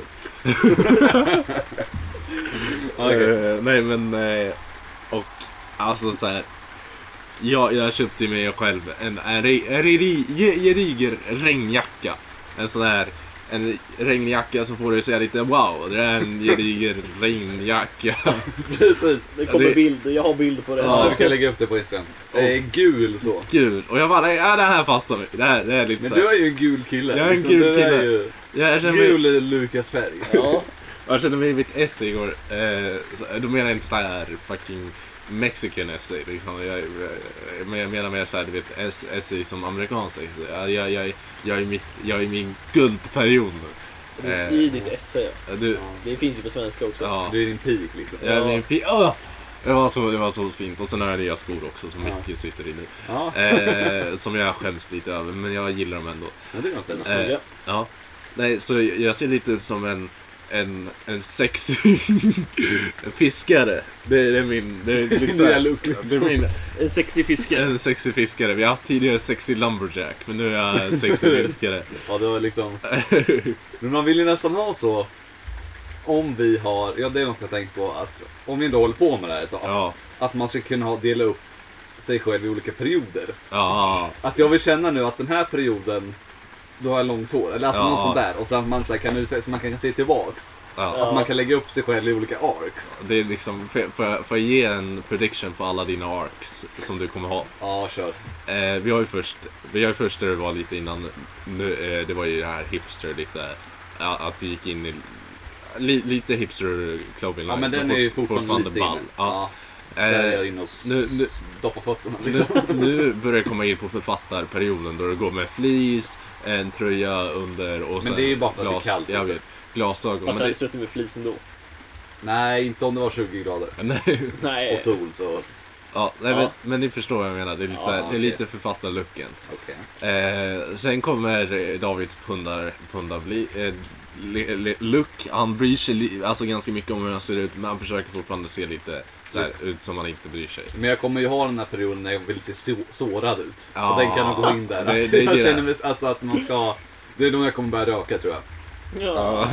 [SPEAKER 1] Ah,
[SPEAKER 3] Eh, nej men, eh, och alltså så här. Jag, jag köpte mig själv en, en, re- en re- ge- gediger regnjacka. En sån här, en regnjacka som får dig att säga lite wow, det är en gediger regnjacka.
[SPEAKER 2] Precis. Det kommer
[SPEAKER 3] Ja, det-
[SPEAKER 2] bilder. Jag har bilder på det.
[SPEAKER 1] Ja,
[SPEAKER 3] Ja.
[SPEAKER 1] vi kan lägga upp det på Instagram. Eh, gul så.
[SPEAKER 3] Kul! Och jag bara, ja det här fastnar mig. Det här, det här är lite
[SPEAKER 1] Men
[SPEAKER 3] så
[SPEAKER 1] du
[SPEAKER 3] här.
[SPEAKER 1] är ju en gul kille.
[SPEAKER 3] Jag är en gul
[SPEAKER 1] du
[SPEAKER 3] kille.
[SPEAKER 1] ju-
[SPEAKER 3] Jag, jag känner mig,
[SPEAKER 1] Gul är Lukas färg.
[SPEAKER 2] Ja.
[SPEAKER 3] jag kände mig i mitt essay igår. Eh, så, då menar jag inte så här fucking mexican essay liksom. Jag, jag, men jag menar mer så här, du vet, ess- essay som amerikansk essay. Jag, jag, jag, jag, är i mitt, jag är i min guldperiod nu.
[SPEAKER 2] I
[SPEAKER 3] Eh,
[SPEAKER 2] ditt esse.
[SPEAKER 3] du,
[SPEAKER 2] Det finns ju på svenska också.
[SPEAKER 3] ja.
[SPEAKER 1] Du är din peak liksom.
[SPEAKER 3] Jag är min pi- Åh! Det var, så, det var så fint. Och sen har jag nya skor också som
[SPEAKER 1] Ja.
[SPEAKER 3] mycket sitter i nu.
[SPEAKER 1] Ja,
[SPEAKER 3] Eh, som jag skäms lite över, men jag gillar dem ändå.
[SPEAKER 1] men det är något fint.
[SPEAKER 2] Snygga.
[SPEAKER 3] Ja. Nej, så jag ser lite ut som en, en, en sexig fiskare. Det är, det är min... Det är, liksom,
[SPEAKER 2] Nya look, liksom.
[SPEAKER 3] det är min
[SPEAKER 2] En sexig fiskare.
[SPEAKER 3] en sexig fiskare. Vi har haft tidigare sexig lumberjack, men nu är jag sexig fiskare.
[SPEAKER 1] Ja, det var liksom... Men man vill ju nästan vara så. Om vi har, ja det är något jag tänkt på, att om vi ändå håller på med det här ett tag.
[SPEAKER 3] Ja,
[SPEAKER 1] Att man ska kunna ha- dela upp sig själv i olika perioder.
[SPEAKER 3] ja,
[SPEAKER 1] Att jag vill känna nu att den här perioden, då har jag långt hår. Eller alltså
[SPEAKER 3] Ja.
[SPEAKER 1] något sånt där. Och sen att man så här kan utveckla, så man kan se tillbaks.
[SPEAKER 3] ja.
[SPEAKER 1] Att man kan lägga upp sig själv i olika arcs.
[SPEAKER 3] Det är liksom, får jag- får jag- får jag ge en prediction på alla dina arcs som du kommer ha?
[SPEAKER 1] Ja, kör.
[SPEAKER 3] Eh, vi har ju först, vi har ju först där det var lite innan, nu, eh, det var ju det här hipster lite, ja, att det gick in i li, lite hipster clothing
[SPEAKER 1] Ja, men den är ju fortfarande, lite inne.
[SPEAKER 3] Ja.
[SPEAKER 1] Ja, där är jag
[SPEAKER 3] Eh,
[SPEAKER 1] inne och
[SPEAKER 3] nu- nu-
[SPEAKER 1] doppar fötterna
[SPEAKER 3] nu,
[SPEAKER 1] liksom.
[SPEAKER 3] nu börjar det komma in på författarperioden då det går med fleece, en tröja under och sen
[SPEAKER 1] det är ju bara för att det är kallt
[SPEAKER 3] Jag
[SPEAKER 1] ute.
[SPEAKER 3] vet, glasögon.
[SPEAKER 2] Fast
[SPEAKER 3] Men
[SPEAKER 2] han hade
[SPEAKER 3] det,
[SPEAKER 2] suttit med flis ändå.
[SPEAKER 1] Nej, inte om det var 20 grader.
[SPEAKER 3] nej,
[SPEAKER 2] Nej.
[SPEAKER 1] Och sol så,
[SPEAKER 3] ja, nej
[SPEAKER 2] Ja.
[SPEAKER 3] men, men ni förstår vad jag menar, det är lite,
[SPEAKER 1] Ja,
[SPEAKER 3] så här, det är
[SPEAKER 1] okej.
[SPEAKER 3] lite författarlooken.
[SPEAKER 1] okej.
[SPEAKER 3] Eh, sen kommer eh, Davids pundar, pundar bli, eh, le, le, look. Han bryr sig li, alltså ganska mycket om hur han ser ut, men han försöker fortfarande se lite så här, ut som han inte bryr sig.
[SPEAKER 1] Men jag kommer ju ha den här perioden när jag vill se så- sårad ut.
[SPEAKER 3] Ja.
[SPEAKER 1] och den kan nog gå in där.
[SPEAKER 3] Det-
[SPEAKER 1] Att
[SPEAKER 3] det är
[SPEAKER 1] jag
[SPEAKER 3] det.
[SPEAKER 1] känner mig, alltså att man ska... Det är då jag kommer börja röka tror jag.
[SPEAKER 2] Ja.
[SPEAKER 1] Eh,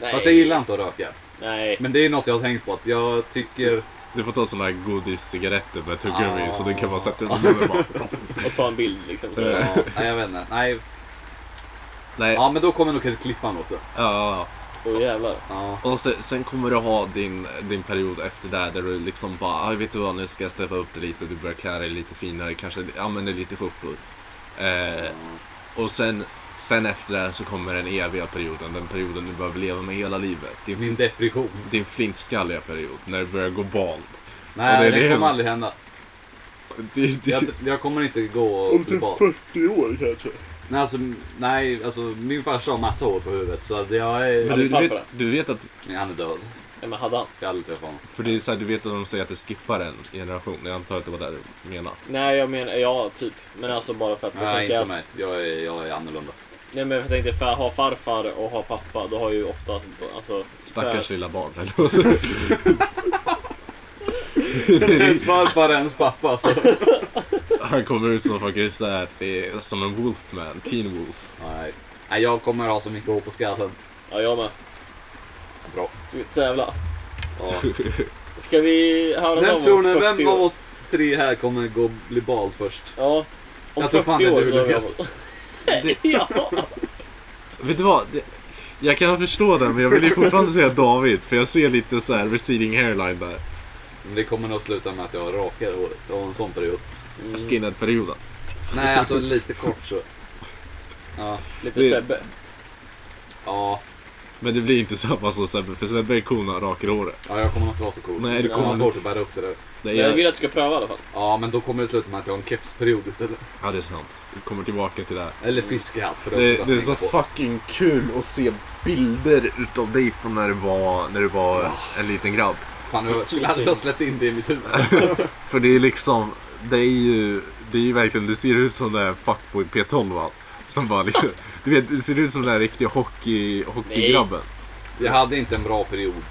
[SPEAKER 2] Nej.
[SPEAKER 1] fast jag gillar inte att röka.
[SPEAKER 2] Nej.
[SPEAKER 1] Men det är något jag har tänkt på att jag tycker...
[SPEAKER 3] Du får ta såna här godiscigaretter med tuggummi,
[SPEAKER 1] Ah.
[SPEAKER 3] så den kan man sätta under munnen bara.
[SPEAKER 2] Och ta en bild liksom. Så.
[SPEAKER 3] Eh.
[SPEAKER 1] Ja, nej, jag vet inte. Nej.
[SPEAKER 3] Nej, ja.
[SPEAKER 1] Ja men då kommer nog kanske klippan också.
[SPEAKER 3] ja.
[SPEAKER 2] Åh jävlar.
[SPEAKER 1] Ja.
[SPEAKER 3] Och sen, sen kommer du ha din, din period efter där, där du liksom bara, "Aj, vet du vad, nu ska jag steppa upp det lite, du börjar klä dig lite finare, kanske använder lite skjortor. Eh, Och sen, sen efter det här så kommer den eviga perioden, den perioden du behöver leva med hela livet. Din,
[SPEAKER 1] Min depression.
[SPEAKER 3] din flintskalliga period, när du börjar gå bald.
[SPEAKER 1] Nej,
[SPEAKER 3] det är
[SPEAKER 1] det,
[SPEAKER 3] det.
[SPEAKER 1] kommer aldrig hända.
[SPEAKER 3] Det, det,
[SPEAKER 1] Jag, jag kommer inte gå tillbaka.
[SPEAKER 2] 40 typ år kanske.
[SPEAKER 1] Nej, alltså, nej, alltså min farsa har massa hår på huvudet så att jag
[SPEAKER 3] men
[SPEAKER 1] är...
[SPEAKER 3] du,
[SPEAKER 2] Ja,
[SPEAKER 3] du,
[SPEAKER 2] men
[SPEAKER 3] vet,
[SPEAKER 2] farfar.
[SPEAKER 3] du vet att,
[SPEAKER 1] Nej, han är död.
[SPEAKER 2] Nej men hade han?
[SPEAKER 1] Jag har aldrig träffat honom.
[SPEAKER 3] för det är så här, du vet att de säger att du skippar en generation. Jag antar att det var där du menade.
[SPEAKER 2] Nej jag menar, ja typ. Men alltså bara för att jag
[SPEAKER 1] Nej,
[SPEAKER 2] tänker
[SPEAKER 1] inte
[SPEAKER 2] att,
[SPEAKER 1] mig. Jag är, jag är annorlunda.
[SPEAKER 2] Nej men jag tänkte för att ha farfar och ha pappa, då har jag ju ofta alltså...
[SPEAKER 3] Stackars
[SPEAKER 2] för-
[SPEAKER 3] lilla barn. Eller vad så.
[SPEAKER 1] Ens farfar, ens pappa. alltså. Så.
[SPEAKER 3] Han kommer ut som faktiskt så här, det är som en wolfman, teen wolf.
[SPEAKER 1] Nej. Nej, jag kommer ha så mycket hår på skallen.
[SPEAKER 2] Ja jag med.
[SPEAKER 1] Bra.
[SPEAKER 2] Du jävlar.
[SPEAKER 1] Ja.
[SPEAKER 2] Ska vi höra
[SPEAKER 1] Vem
[SPEAKER 2] om
[SPEAKER 1] tror ni,
[SPEAKER 2] 40
[SPEAKER 1] vem av
[SPEAKER 2] år?
[SPEAKER 1] oss tre här kommer gå bli bald först?
[SPEAKER 2] Ja. Om
[SPEAKER 1] Jag tror
[SPEAKER 2] 40
[SPEAKER 1] fan det är
[SPEAKER 2] år
[SPEAKER 1] du,
[SPEAKER 2] så har vi
[SPEAKER 1] Lukas.
[SPEAKER 2] honom.
[SPEAKER 3] Det,
[SPEAKER 2] Ja.
[SPEAKER 3] vet du vad? Det, jag kan förstå den, men jag vill ju fortfarande säga David, för jag ser lite så här receding hairline där.
[SPEAKER 1] Men det kommer nog sluta med att jag rakar håret. Och en sån period. Mm.
[SPEAKER 3] Skinhead-perioden.
[SPEAKER 1] Nej, alltså lite kort så. Ja.
[SPEAKER 2] Lite
[SPEAKER 3] Det-
[SPEAKER 2] Sebbe.
[SPEAKER 1] Ja,
[SPEAKER 3] Men det blir inte samma som Sebbe, för Sebbe är kon när han rakar håret.
[SPEAKER 1] ja jag kommer nog inte vara så cool.
[SPEAKER 3] Nej, det
[SPEAKER 1] Jag kommer ha
[SPEAKER 3] kommer-
[SPEAKER 1] svårt att bära upp det där.
[SPEAKER 3] Det
[SPEAKER 2] Men jag vill
[SPEAKER 3] är,
[SPEAKER 2] att du ska pröva i alla fall.
[SPEAKER 1] Ja, men då kommer det sluta med att jag har en kepsperiod istället.
[SPEAKER 3] ja, det är sant. Vi kommer tillbaka till det här.
[SPEAKER 1] Eller fiskehatt för
[SPEAKER 3] Mm. Det,
[SPEAKER 1] också
[SPEAKER 3] det är
[SPEAKER 1] att
[SPEAKER 3] så
[SPEAKER 1] tänka på.
[SPEAKER 3] fucking kul att se bilder utav dig från när du var, när du var en liten grabb.
[SPEAKER 1] Fan, jag skulle aldrig ha släppt in det i mitt huvud. Alltså,
[SPEAKER 3] För det är liksom, det är ju, det är ju verkligen, du ser ut som den där fuckboy P12 va? Som bara liksom, du vet, du ser ut som den där riktiga hockey, hockeygrabben.
[SPEAKER 1] Jag hade inte en bra period.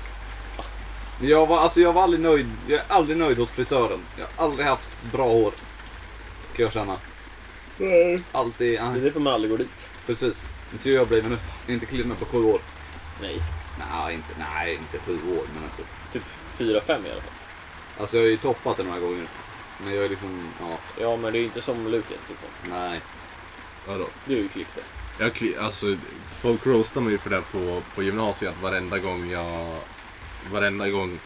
[SPEAKER 1] Men Jag var, alltså jag var aldrig nöjd. Jag är aldrig nöjd hos frisören. Jag har aldrig haft bra hår. Kan jag känna. Alltid,
[SPEAKER 2] Det är
[SPEAKER 1] nej,
[SPEAKER 2] därför man aldrig går dit.
[SPEAKER 1] precis. Nu ser jag blivit nu. Inte klippt mig på sju år.
[SPEAKER 2] Nej.
[SPEAKER 1] Nej, inte, nej, inte sju år men alltså.
[SPEAKER 2] Typ 4-5 i alla fall.
[SPEAKER 1] Alltså jag har ju toppat det några gånger. Men jag är liksom, ja,
[SPEAKER 2] Ja men det är ju inte som Lukas liksom.
[SPEAKER 1] nej.
[SPEAKER 3] Vadå?
[SPEAKER 2] Du är ju klippt det.
[SPEAKER 3] Jag kli- alltså, folk roastar mig för det här på, på gymnasiet varenda gång jag, varenda gång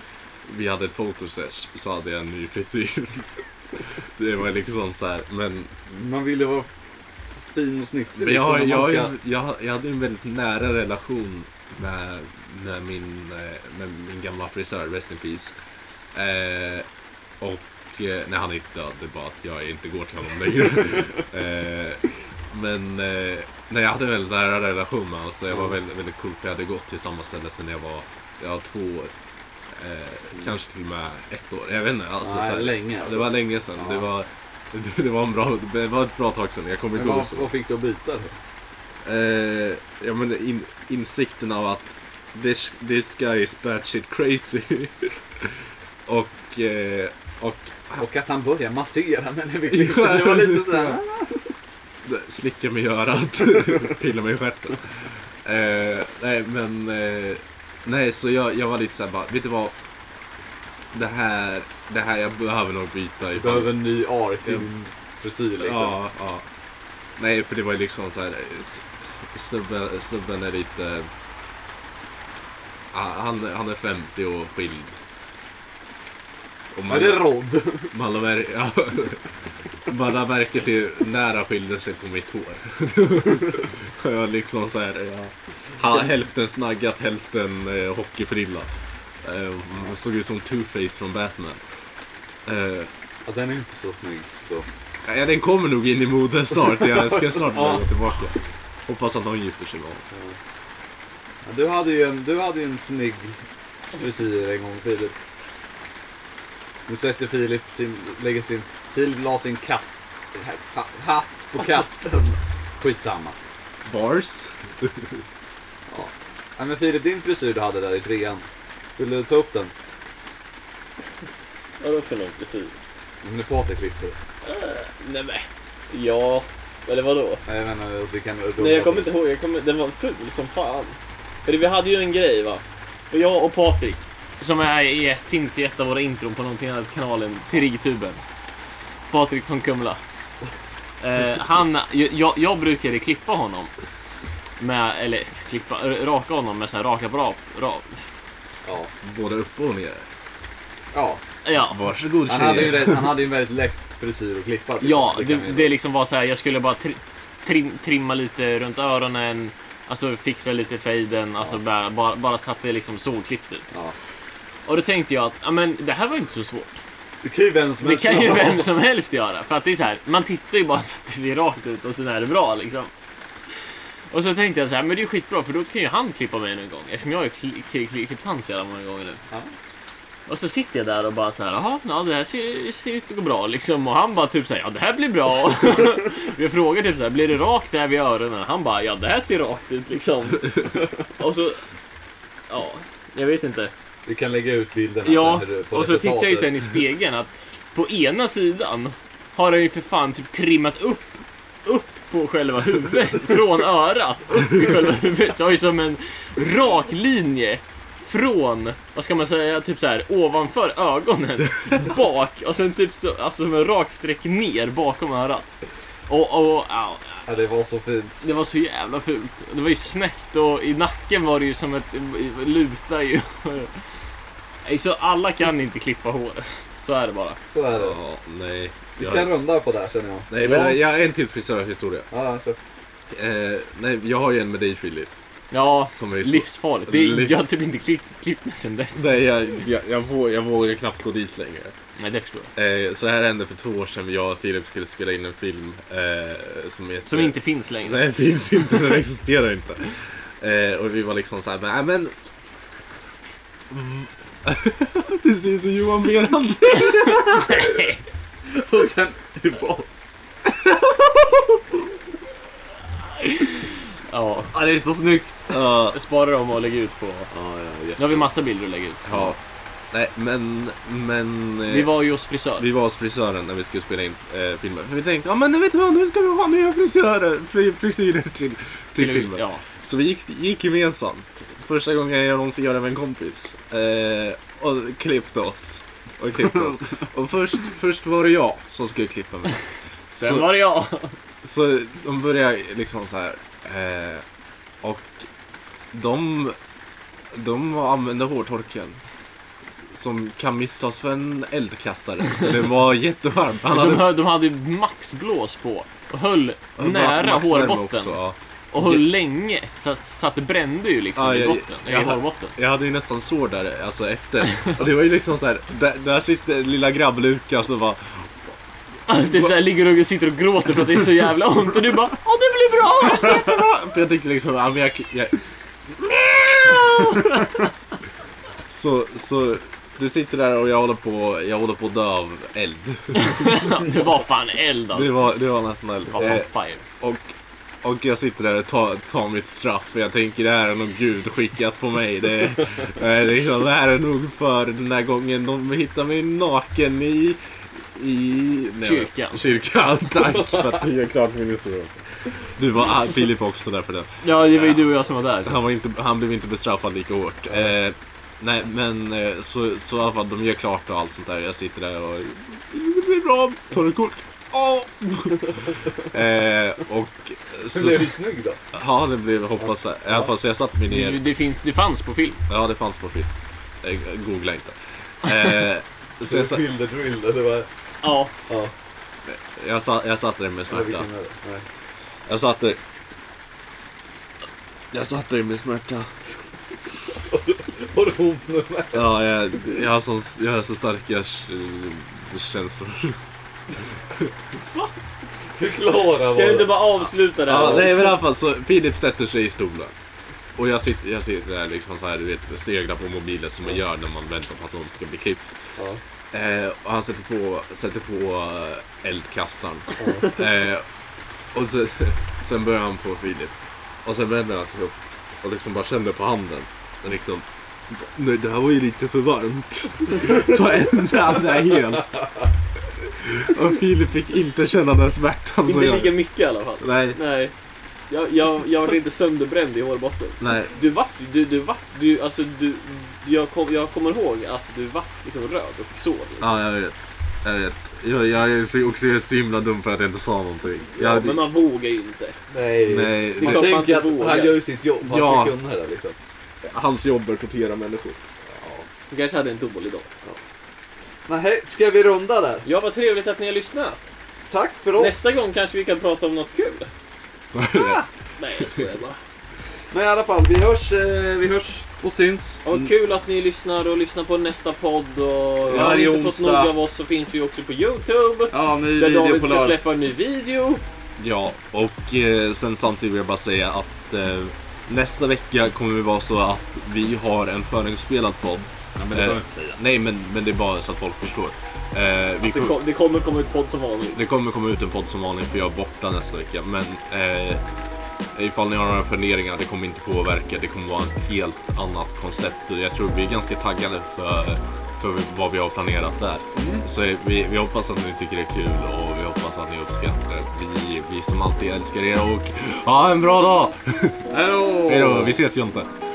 [SPEAKER 3] vi hade ett fotosesh så hade jag en ny frisyr. Det var liksom så här, men
[SPEAKER 1] Man ville vara fin och snitsig.
[SPEAKER 3] Men jag, har-
[SPEAKER 1] liksom om
[SPEAKER 3] jag,
[SPEAKER 1] man
[SPEAKER 3] har ju-
[SPEAKER 1] ska-
[SPEAKER 3] jag, jag hade en väldigt nära relation med, med, min, eh, med min gamla frisör, Rest in Peace. Eh, och, eh, nej han är inte död, det är bara att jag inte går till honom längre. eh, men, eh, nej jag hade en väldigt nära relation med honom så jag var väldigt, väldigt cool för jag hade gått till samma ställe sedan jag var, jag var två år. Eh, Kanske till och med ett år, jag vet inte. Alltså,
[SPEAKER 1] nej,
[SPEAKER 3] så här,
[SPEAKER 1] länge alltså.
[SPEAKER 3] Det var länge sedan.
[SPEAKER 1] Ja.
[SPEAKER 3] Det, var, det, det, var en bra, det var ett bra tag sedan, jag kommer
[SPEAKER 1] men
[SPEAKER 3] inte ihåg.
[SPEAKER 1] vad,
[SPEAKER 3] så.
[SPEAKER 1] vad fick du att byta då?
[SPEAKER 3] Eh, ja, men in, insikten av att this, this guy is batshit crazy. och, eh, och
[SPEAKER 1] Ah, Och att han börjar massera mig när vi klippte. Det var lite såhär.
[SPEAKER 3] slicka mig i örat, pilla mig i stjärten. Eh, nej, men... Eh, nej, så jag, jag var lite såhär bara, vet du vad? Det här, det här, jag behöver nog byta.
[SPEAKER 1] Du
[SPEAKER 3] ifall-
[SPEAKER 1] behöver en ny ark i din frisyr liksom.
[SPEAKER 3] Ja, ja. Nej, för det var ju liksom så här. s- Snubben, snubben är lite... ah, Han, han är 50 och skild. Och
[SPEAKER 1] Men det är Rod.
[SPEAKER 3] man, har ver- ja, man har märkt ju när han skilde sig på mitt hår. Och jag liksom så här, ja, ha, hälften snaggat, hälften eh, hockeyfrilla. Eh, såg ut som two-face från Batman. Eh,
[SPEAKER 1] Ja, den är inte så snygg. Så.
[SPEAKER 3] Ja, den kommer nog in i mode snart. Jag ska snart
[SPEAKER 1] Ja.
[SPEAKER 3] gå tillbaka. Hoppas att någon gifter sig med honom.
[SPEAKER 1] Ja, du, hade ju en, du hade ju en snygg frisyr en gång Filip. Nu sätter Filip sin, lägger sin, Filip la sin katt, ha, hatt på katten. Skitsamma.
[SPEAKER 3] Bars?
[SPEAKER 1] Ja. Ja, men Filip, din frisyr du hade där i trean. Vill du ta upp den?
[SPEAKER 6] Vadå för någon frisyr?
[SPEAKER 1] Nu Patrik klipper.
[SPEAKER 6] Nej men. Ja, eller vadå?
[SPEAKER 1] Nej, Jag menar, vi kan...
[SPEAKER 6] Nej jag kommer inte ihåg, jag kommer, den var ful som fan. För vi hade ju en grej va? Och jag och Patrik.
[SPEAKER 2] Som är, är, finns i ett av våra intron på någonting annat kanalen, till Riggtuben. Patrik från Kumla. Eh, han, jag, jag brukade klippa honom. Med, eller klippa, r- raka honom med sån här rakapparat. Ra,
[SPEAKER 1] Ja.
[SPEAKER 3] Både upp och ner.
[SPEAKER 1] ja.
[SPEAKER 2] ja,
[SPEAKER 3] Varsågod
[SPEAKER 1] Han, hade ju, rätt- han hade ju en väldigt lätt frisyr att klippa. liksom.
[SPEAKER 2] ja det,
[SPEAKER 1] kan vi-
[SPEAKER 2] det liksom var så här, jag skulle bara tri, trim, trimma lite runt öronen. Alltså fixa lite fejden, alltså bara, bara, bara så att det liksom såg klippt ut.
[SPEAKER 1] Ja.
[SPEAKER 2] Och då tänkte jag att, ja men det här var ju inte så svårt.
[SPEAKER 1] Det kan ju vem som
[SPEAKER 2] Det
[SPEAKER 1] helst
[SPEAKER 2] kan ju
[SPEAKER 1] göra.
[SPEAKER 2] vem som helst göra. För att det är så här, man tittar ju bara så att det ser rakt ut och sen är det bra liksom. Och så tänkte jag så här, men det är ju skitbra för då kan ju han klippa mig någon gång. Eftersom jag har ju kli- kli- kli- klippt han så jävla många gånger nu.
[SPEAKER 1] Ja.
[SPEAKER 2] Och så sitter jag där och bara så här, jaha, ja, det här ser, ser ut att gå bra liksom. Och han bara typ så här, ja det här blir bra. jag frågar typ så här, blir det rakt där vid öronen? Han bara, ja det här ser rakt ut liksom. och så, ja, jag vet inte.
[SPEAKER 1] Vi kan lägga ut bilderna
[SPEAKER 2] Ja,
[SPEAKER 1] sen hur det- på
[SPEAKER 2] och så tittar jag ju
[SPEAKER 1] resultatet.
[SPEAKER 2] sen i spegeln att på ena sidan har han ju för fan typ trimmat upp, upp på själva huvudet, från örat, upp i själva huvudet. Så har ju som en rak linje från, vad ska man säga, typ så här ovanför ögonen, bak och sen typ så, alltså som en rak streck ner bakom örat. Och, och, ja,
[SPEAKER 1] Ja, det var så fint.
[SPEAKER 2] det var så jävla fult. Det var ju snett och i nacken var det ju som ett... luta ju. Nej, Så alla kan inte klippa hår. Så är det bara.
[SPEAKER 1] Så är det.
[SPEAKER 3] Ja, nej.
[SPEAKER 1] Vi
[SPEAKER 3] Jag,
[SPEAKER 1] kan runda på där känner jag.
[SPEAKER 3] nej, men jag har en till frisörhistoria.
[SPEAKER 1] Ja, så.
[SPEAKER 3] Eh, nej, jag har ju en med dig Filip.
[SPEAKER 2] Ja,
[SPEAKER 3] Som är så-
[SPEAKER 2] livsfarligt. Det är,
[SPEAKER 3] Liv-
[SPEAKER 2] jag har typ inte klippt, klippt mig sen dess.
[SPEAKER 3] Nej, jag, jag, jag, vågar, jag vågar knappt gå dit längre.
[SPEAKER 2] Nej, det förstår jag.
[SPEAKER 3] Eh, så här hände för två år sedan. Jag och Filip skulle spela in en film eh, som heter...
[SPEAKER 2] Som inte finns längre.
[SPEAKER 3] Nej, den finns inte. Den existerar inte. Eh, och vi var liksom såhär, nej men... Mm. det ser ut som Johan Berhand.
[SPEAKER 1] Och sen tillbaka.
[SPEAKER 2] Ja,
[SPEAKER 1] Ja, det är så snyggt.
[SPEAKER 3] Ja,
[SPEAKER 2] spara dem och lägg ut på...
[SPEAKER 1] Ja, ja,
[SPEAKER 2] Nu har vi massa bilder att lägga ut.
[SPEAKER 3] ja. Nej, men... men eh,
[SPEAKER 2] Vi var ju hos frisör.
[SPEAKER 3] vi var hos frisören när vi skulle spela in eh, filmen. För vi tänkte, ja men nu vet du vad, nu ska vi ha nya frisörer, fri- frisyrer till, till, filmen.
[SPEAKER 2] Ja.
[SPEAKER 3] Så vi gick, gick gemensamt. Första gången jag någonsin gör det med en kompis. Eh, och klippte oss. Och klippte oss. Och först, först var det jag som skulle klippa mig.
[SPEAKER 2] Sen
[SPEAKER 3] Så,
[SPEAKER 2] var det jag.
[SPEAKER 3] så de började liksom så här. Eh, och de, de använde hårtorken. Som kan misstas för en eldkastare. Den var jättevarm. Han
[SPEAKER 2] De,
[SPEAKER 3] hade-
[SPEAKER 2] hö- de hade maxblås på och höll
[SPEAKER 3] han var
[SPEAKER 2] nära
[SPEAKER 3] maxvärme
[SPEAKER 2] hårbotten.
[SPEAKER 3] också, ja.
[SPEAKER 2] Och hur länge? Så, så att det brände ju liksom
[SPEAKER 3] Ja,
[SPEAKER 2] i
[SPEAKER 3] jag-
[SPEAKER 2] botten,
[SPEAKER 3] jag-
[SPEAKER 2] i hårbotten.
[SPEAKER 3] Jag hade ju nästan sår där, alltså efter. Och det var ju liksom så här, där, där sitter lilla grabb-Lukas och bara
[SPEAKER 2] typ såhär ligger och sitter och gråter för att det är så jävla ont och du bara Åh det blir bra!
[SPEAKER 3] "Jättebra!" För jag tänkte liksom, ja men jag... jag... så, så du sitter där och jag håller på, jag håller på att dö av eld.
[SPEAKER 2] det var fan eld
[SPEAKER 3] Det
[SPEAKER 2] alltså.
[SPEAKER 3] var, det var nästan eld.
[SPEAKER 2] Det var
[SPEAKER 3] Eh,
[SPEAKER 2] fan fire.
[SPEAKER 3] och, Och jag sitter där och tar, tar mitt straff. Jag tänker det här är nog Gud skickat på mig. Det, eh, liksom, det här är nog för den där gången de hittar mig naken i... I... nej,
[SPEAKER 4] Kyrkan.
[SPEAKER 3] Kyrkan, tack för att du gör klart min historia. Du var ah, Filip var också där för den.
[SPEAKER 4] Ja, det var ju du och jag som var där.
[SPEAKER 3] Han, var inte, han blev inte bestraffad lika hårt. Eh, nej, men eh, så, så i alla fall, de gör klart och allt sånt där. Jag sitter där och... Det blir bra! Tar du kort? Ja! eh, och så...
[SPEAKER 5] Blev du snygg då?
[SPEAKER 3] Ja, det blev, hoppas jag. I alla fall, så jag satt mig
[SPEAKER 4] Det,
[SPEAKER 3] ner.
[SPEAKER 4] det, finns, det fanns på film.
[SPEAKER 3] Ja, det fanns på film. Eh, googla inte. Eh, så jag, sa-
[SPEAKER 5] Bilder till bilder. Det var...
[SPEAKER 4] Ja.
[SPEAKER 5] Ja,
[SPEAKER 3] jag, sa, jag satt där med
[SPEAKER 5] det var
[SPEAKER 3] smärta.
[SPEAKER 5] vilken är det? Nej.
[SPEAKER 3] Jag satt där. Jag satt där med smärta.
[SPEAKER 5] Har du ont nu med?
[SPEAKER 3] Ja, jag, jag, har, sån, jag har så starka eh, känslor.
[SPEAKER 5] Förklara
[SPEAKER 2] Kan du
[SPEAKER 5] vad
[SPEAKER 2] inte bara avsluta det här?
[SPEAKER 3] Ja, nej, men i alla fall så Filip sätter sig i stolen. Och jag sitter, jag sitter där liksom så här, du vet, seglar på mobilen som man gör när man väntar på att någon ska bli klippt. Eh, och han sätter på, sätter på eh, eldkastaren. Eh, och så, sen börjar han på Filip. Och sen vänder han sig upp och liksom bara känner på handen. Och liksom, nej det här var ju lite för varmt. Så ändrar han det här helt. Och Filip fick inte känna den smärtan som
[SPEAKER 2] Inte
[SPEAKER 3] jag...
[SPEAKER 2] lika mycket i alla fall.
[SPEAKER 3] Nej,
[SPEAKER 2] Nej. Jag, jag, jag var inte sönderbränd i hårbotten.
[SPEAKER 3] nej.
[SPEAKER 2] Du vart, du, du vart, du, alltså du, jag, kom, jag kommer ihåg att du vart liksom röd och fick sår. Liksom.
[SPEAKER 3] Ja, jag vet. Jag vet. Jag, jag är så, också så himla dum för att jag inte sa någonting. Jag,
[SPEAKER 2] Ja, men man vågar ju inte.
[SPEAKER 5] Nej.
[SPEAKER 3] nej,
[SPEAKER 5] Man
[SPEAKER 2] klart man
[SPEAKER 5] tänker
[SPEAKER 2] inte
[SPEAKER 5] att
[SPEAKER 2] vågar.
[SPEAKER 5] han gör ju sitt jobb. Han
[SPEAKER 3] Ja.
[SPEAKER 5] ska kunna det liksom.
[SPEAKER 3] hans jobb är att tortera människor.
[SPEAKER 2] Du kanske hade en dålig dag.
[SPEAKER 5] Men hej, ska vi runda där?
[SPEAKER 2] Ja, vad trevligt att ni har lyssnat.
[SPEAKER 5] Tack för oss.
[SPEAKER 2] Nästa gång kanske vi kan prata om något kul. Nej, jag skojar bara.
[SPEAKER 5] Men i alla fall, vi hörs, eh, vi hörs och syns.
[SPEAKER 2] Och kul att ni lyssnar och lyssnar på nästa podd. Och
[SPEAKER 5] Ja,
[SPEAKER 2] har ni
[SPEAKER 5] det är
[SPEAKER 2] inte fått nog
[SPEAKER 5] onsdag.
[SPEAKER 2] av oss så finns vi också på Youtube.
[SPEAKER 1] Ja, ny
[SPEAKER 2] Där
[SPEAKER 1] video
[SPEAKER 2] David
[SPEAKER 1] på
[SPEAKER 2] ska
[SPEAKER 1] lördag.
[SPEAKER 2] släppa en ny video.
[SPEAKER 3] Ja, och eh, sen samtidigt vill jag bara säga att eh, nästa vecka kommer vi vara så att vi har en förinspelad podd. Eh,
[SPEAKER 1] Ja, men det behöver jag inte säga.
[SPEAKER 3] Nej, men, men det är bara så att folk förstår. Eh, vi
[SPEAKER 2] Det,
[SPEAKER 3] kommer,
[SPEAKER 2] kom, det kommer komma ut podd som vanligt.
[SPEAKER 3] det kommer komma ut en podd som vanligt för jag är borta nästa vecka. Men eh, ifall ni har några funderingar, det kommer inte påverka. Det kommer vara ett helt annat koncept och jag tror vi är ganska taggade för, för vad vi har planerat där. Så eh, vi, vi hoppas att ni tycker det är kul och vi hoppas att ni uppskattar det. Vi, vi som alltid älskar er och ha en bra dag!
[SPEAKER 5] Hej då!
[SPEAKER 3] Hej då, vi ses Jonte!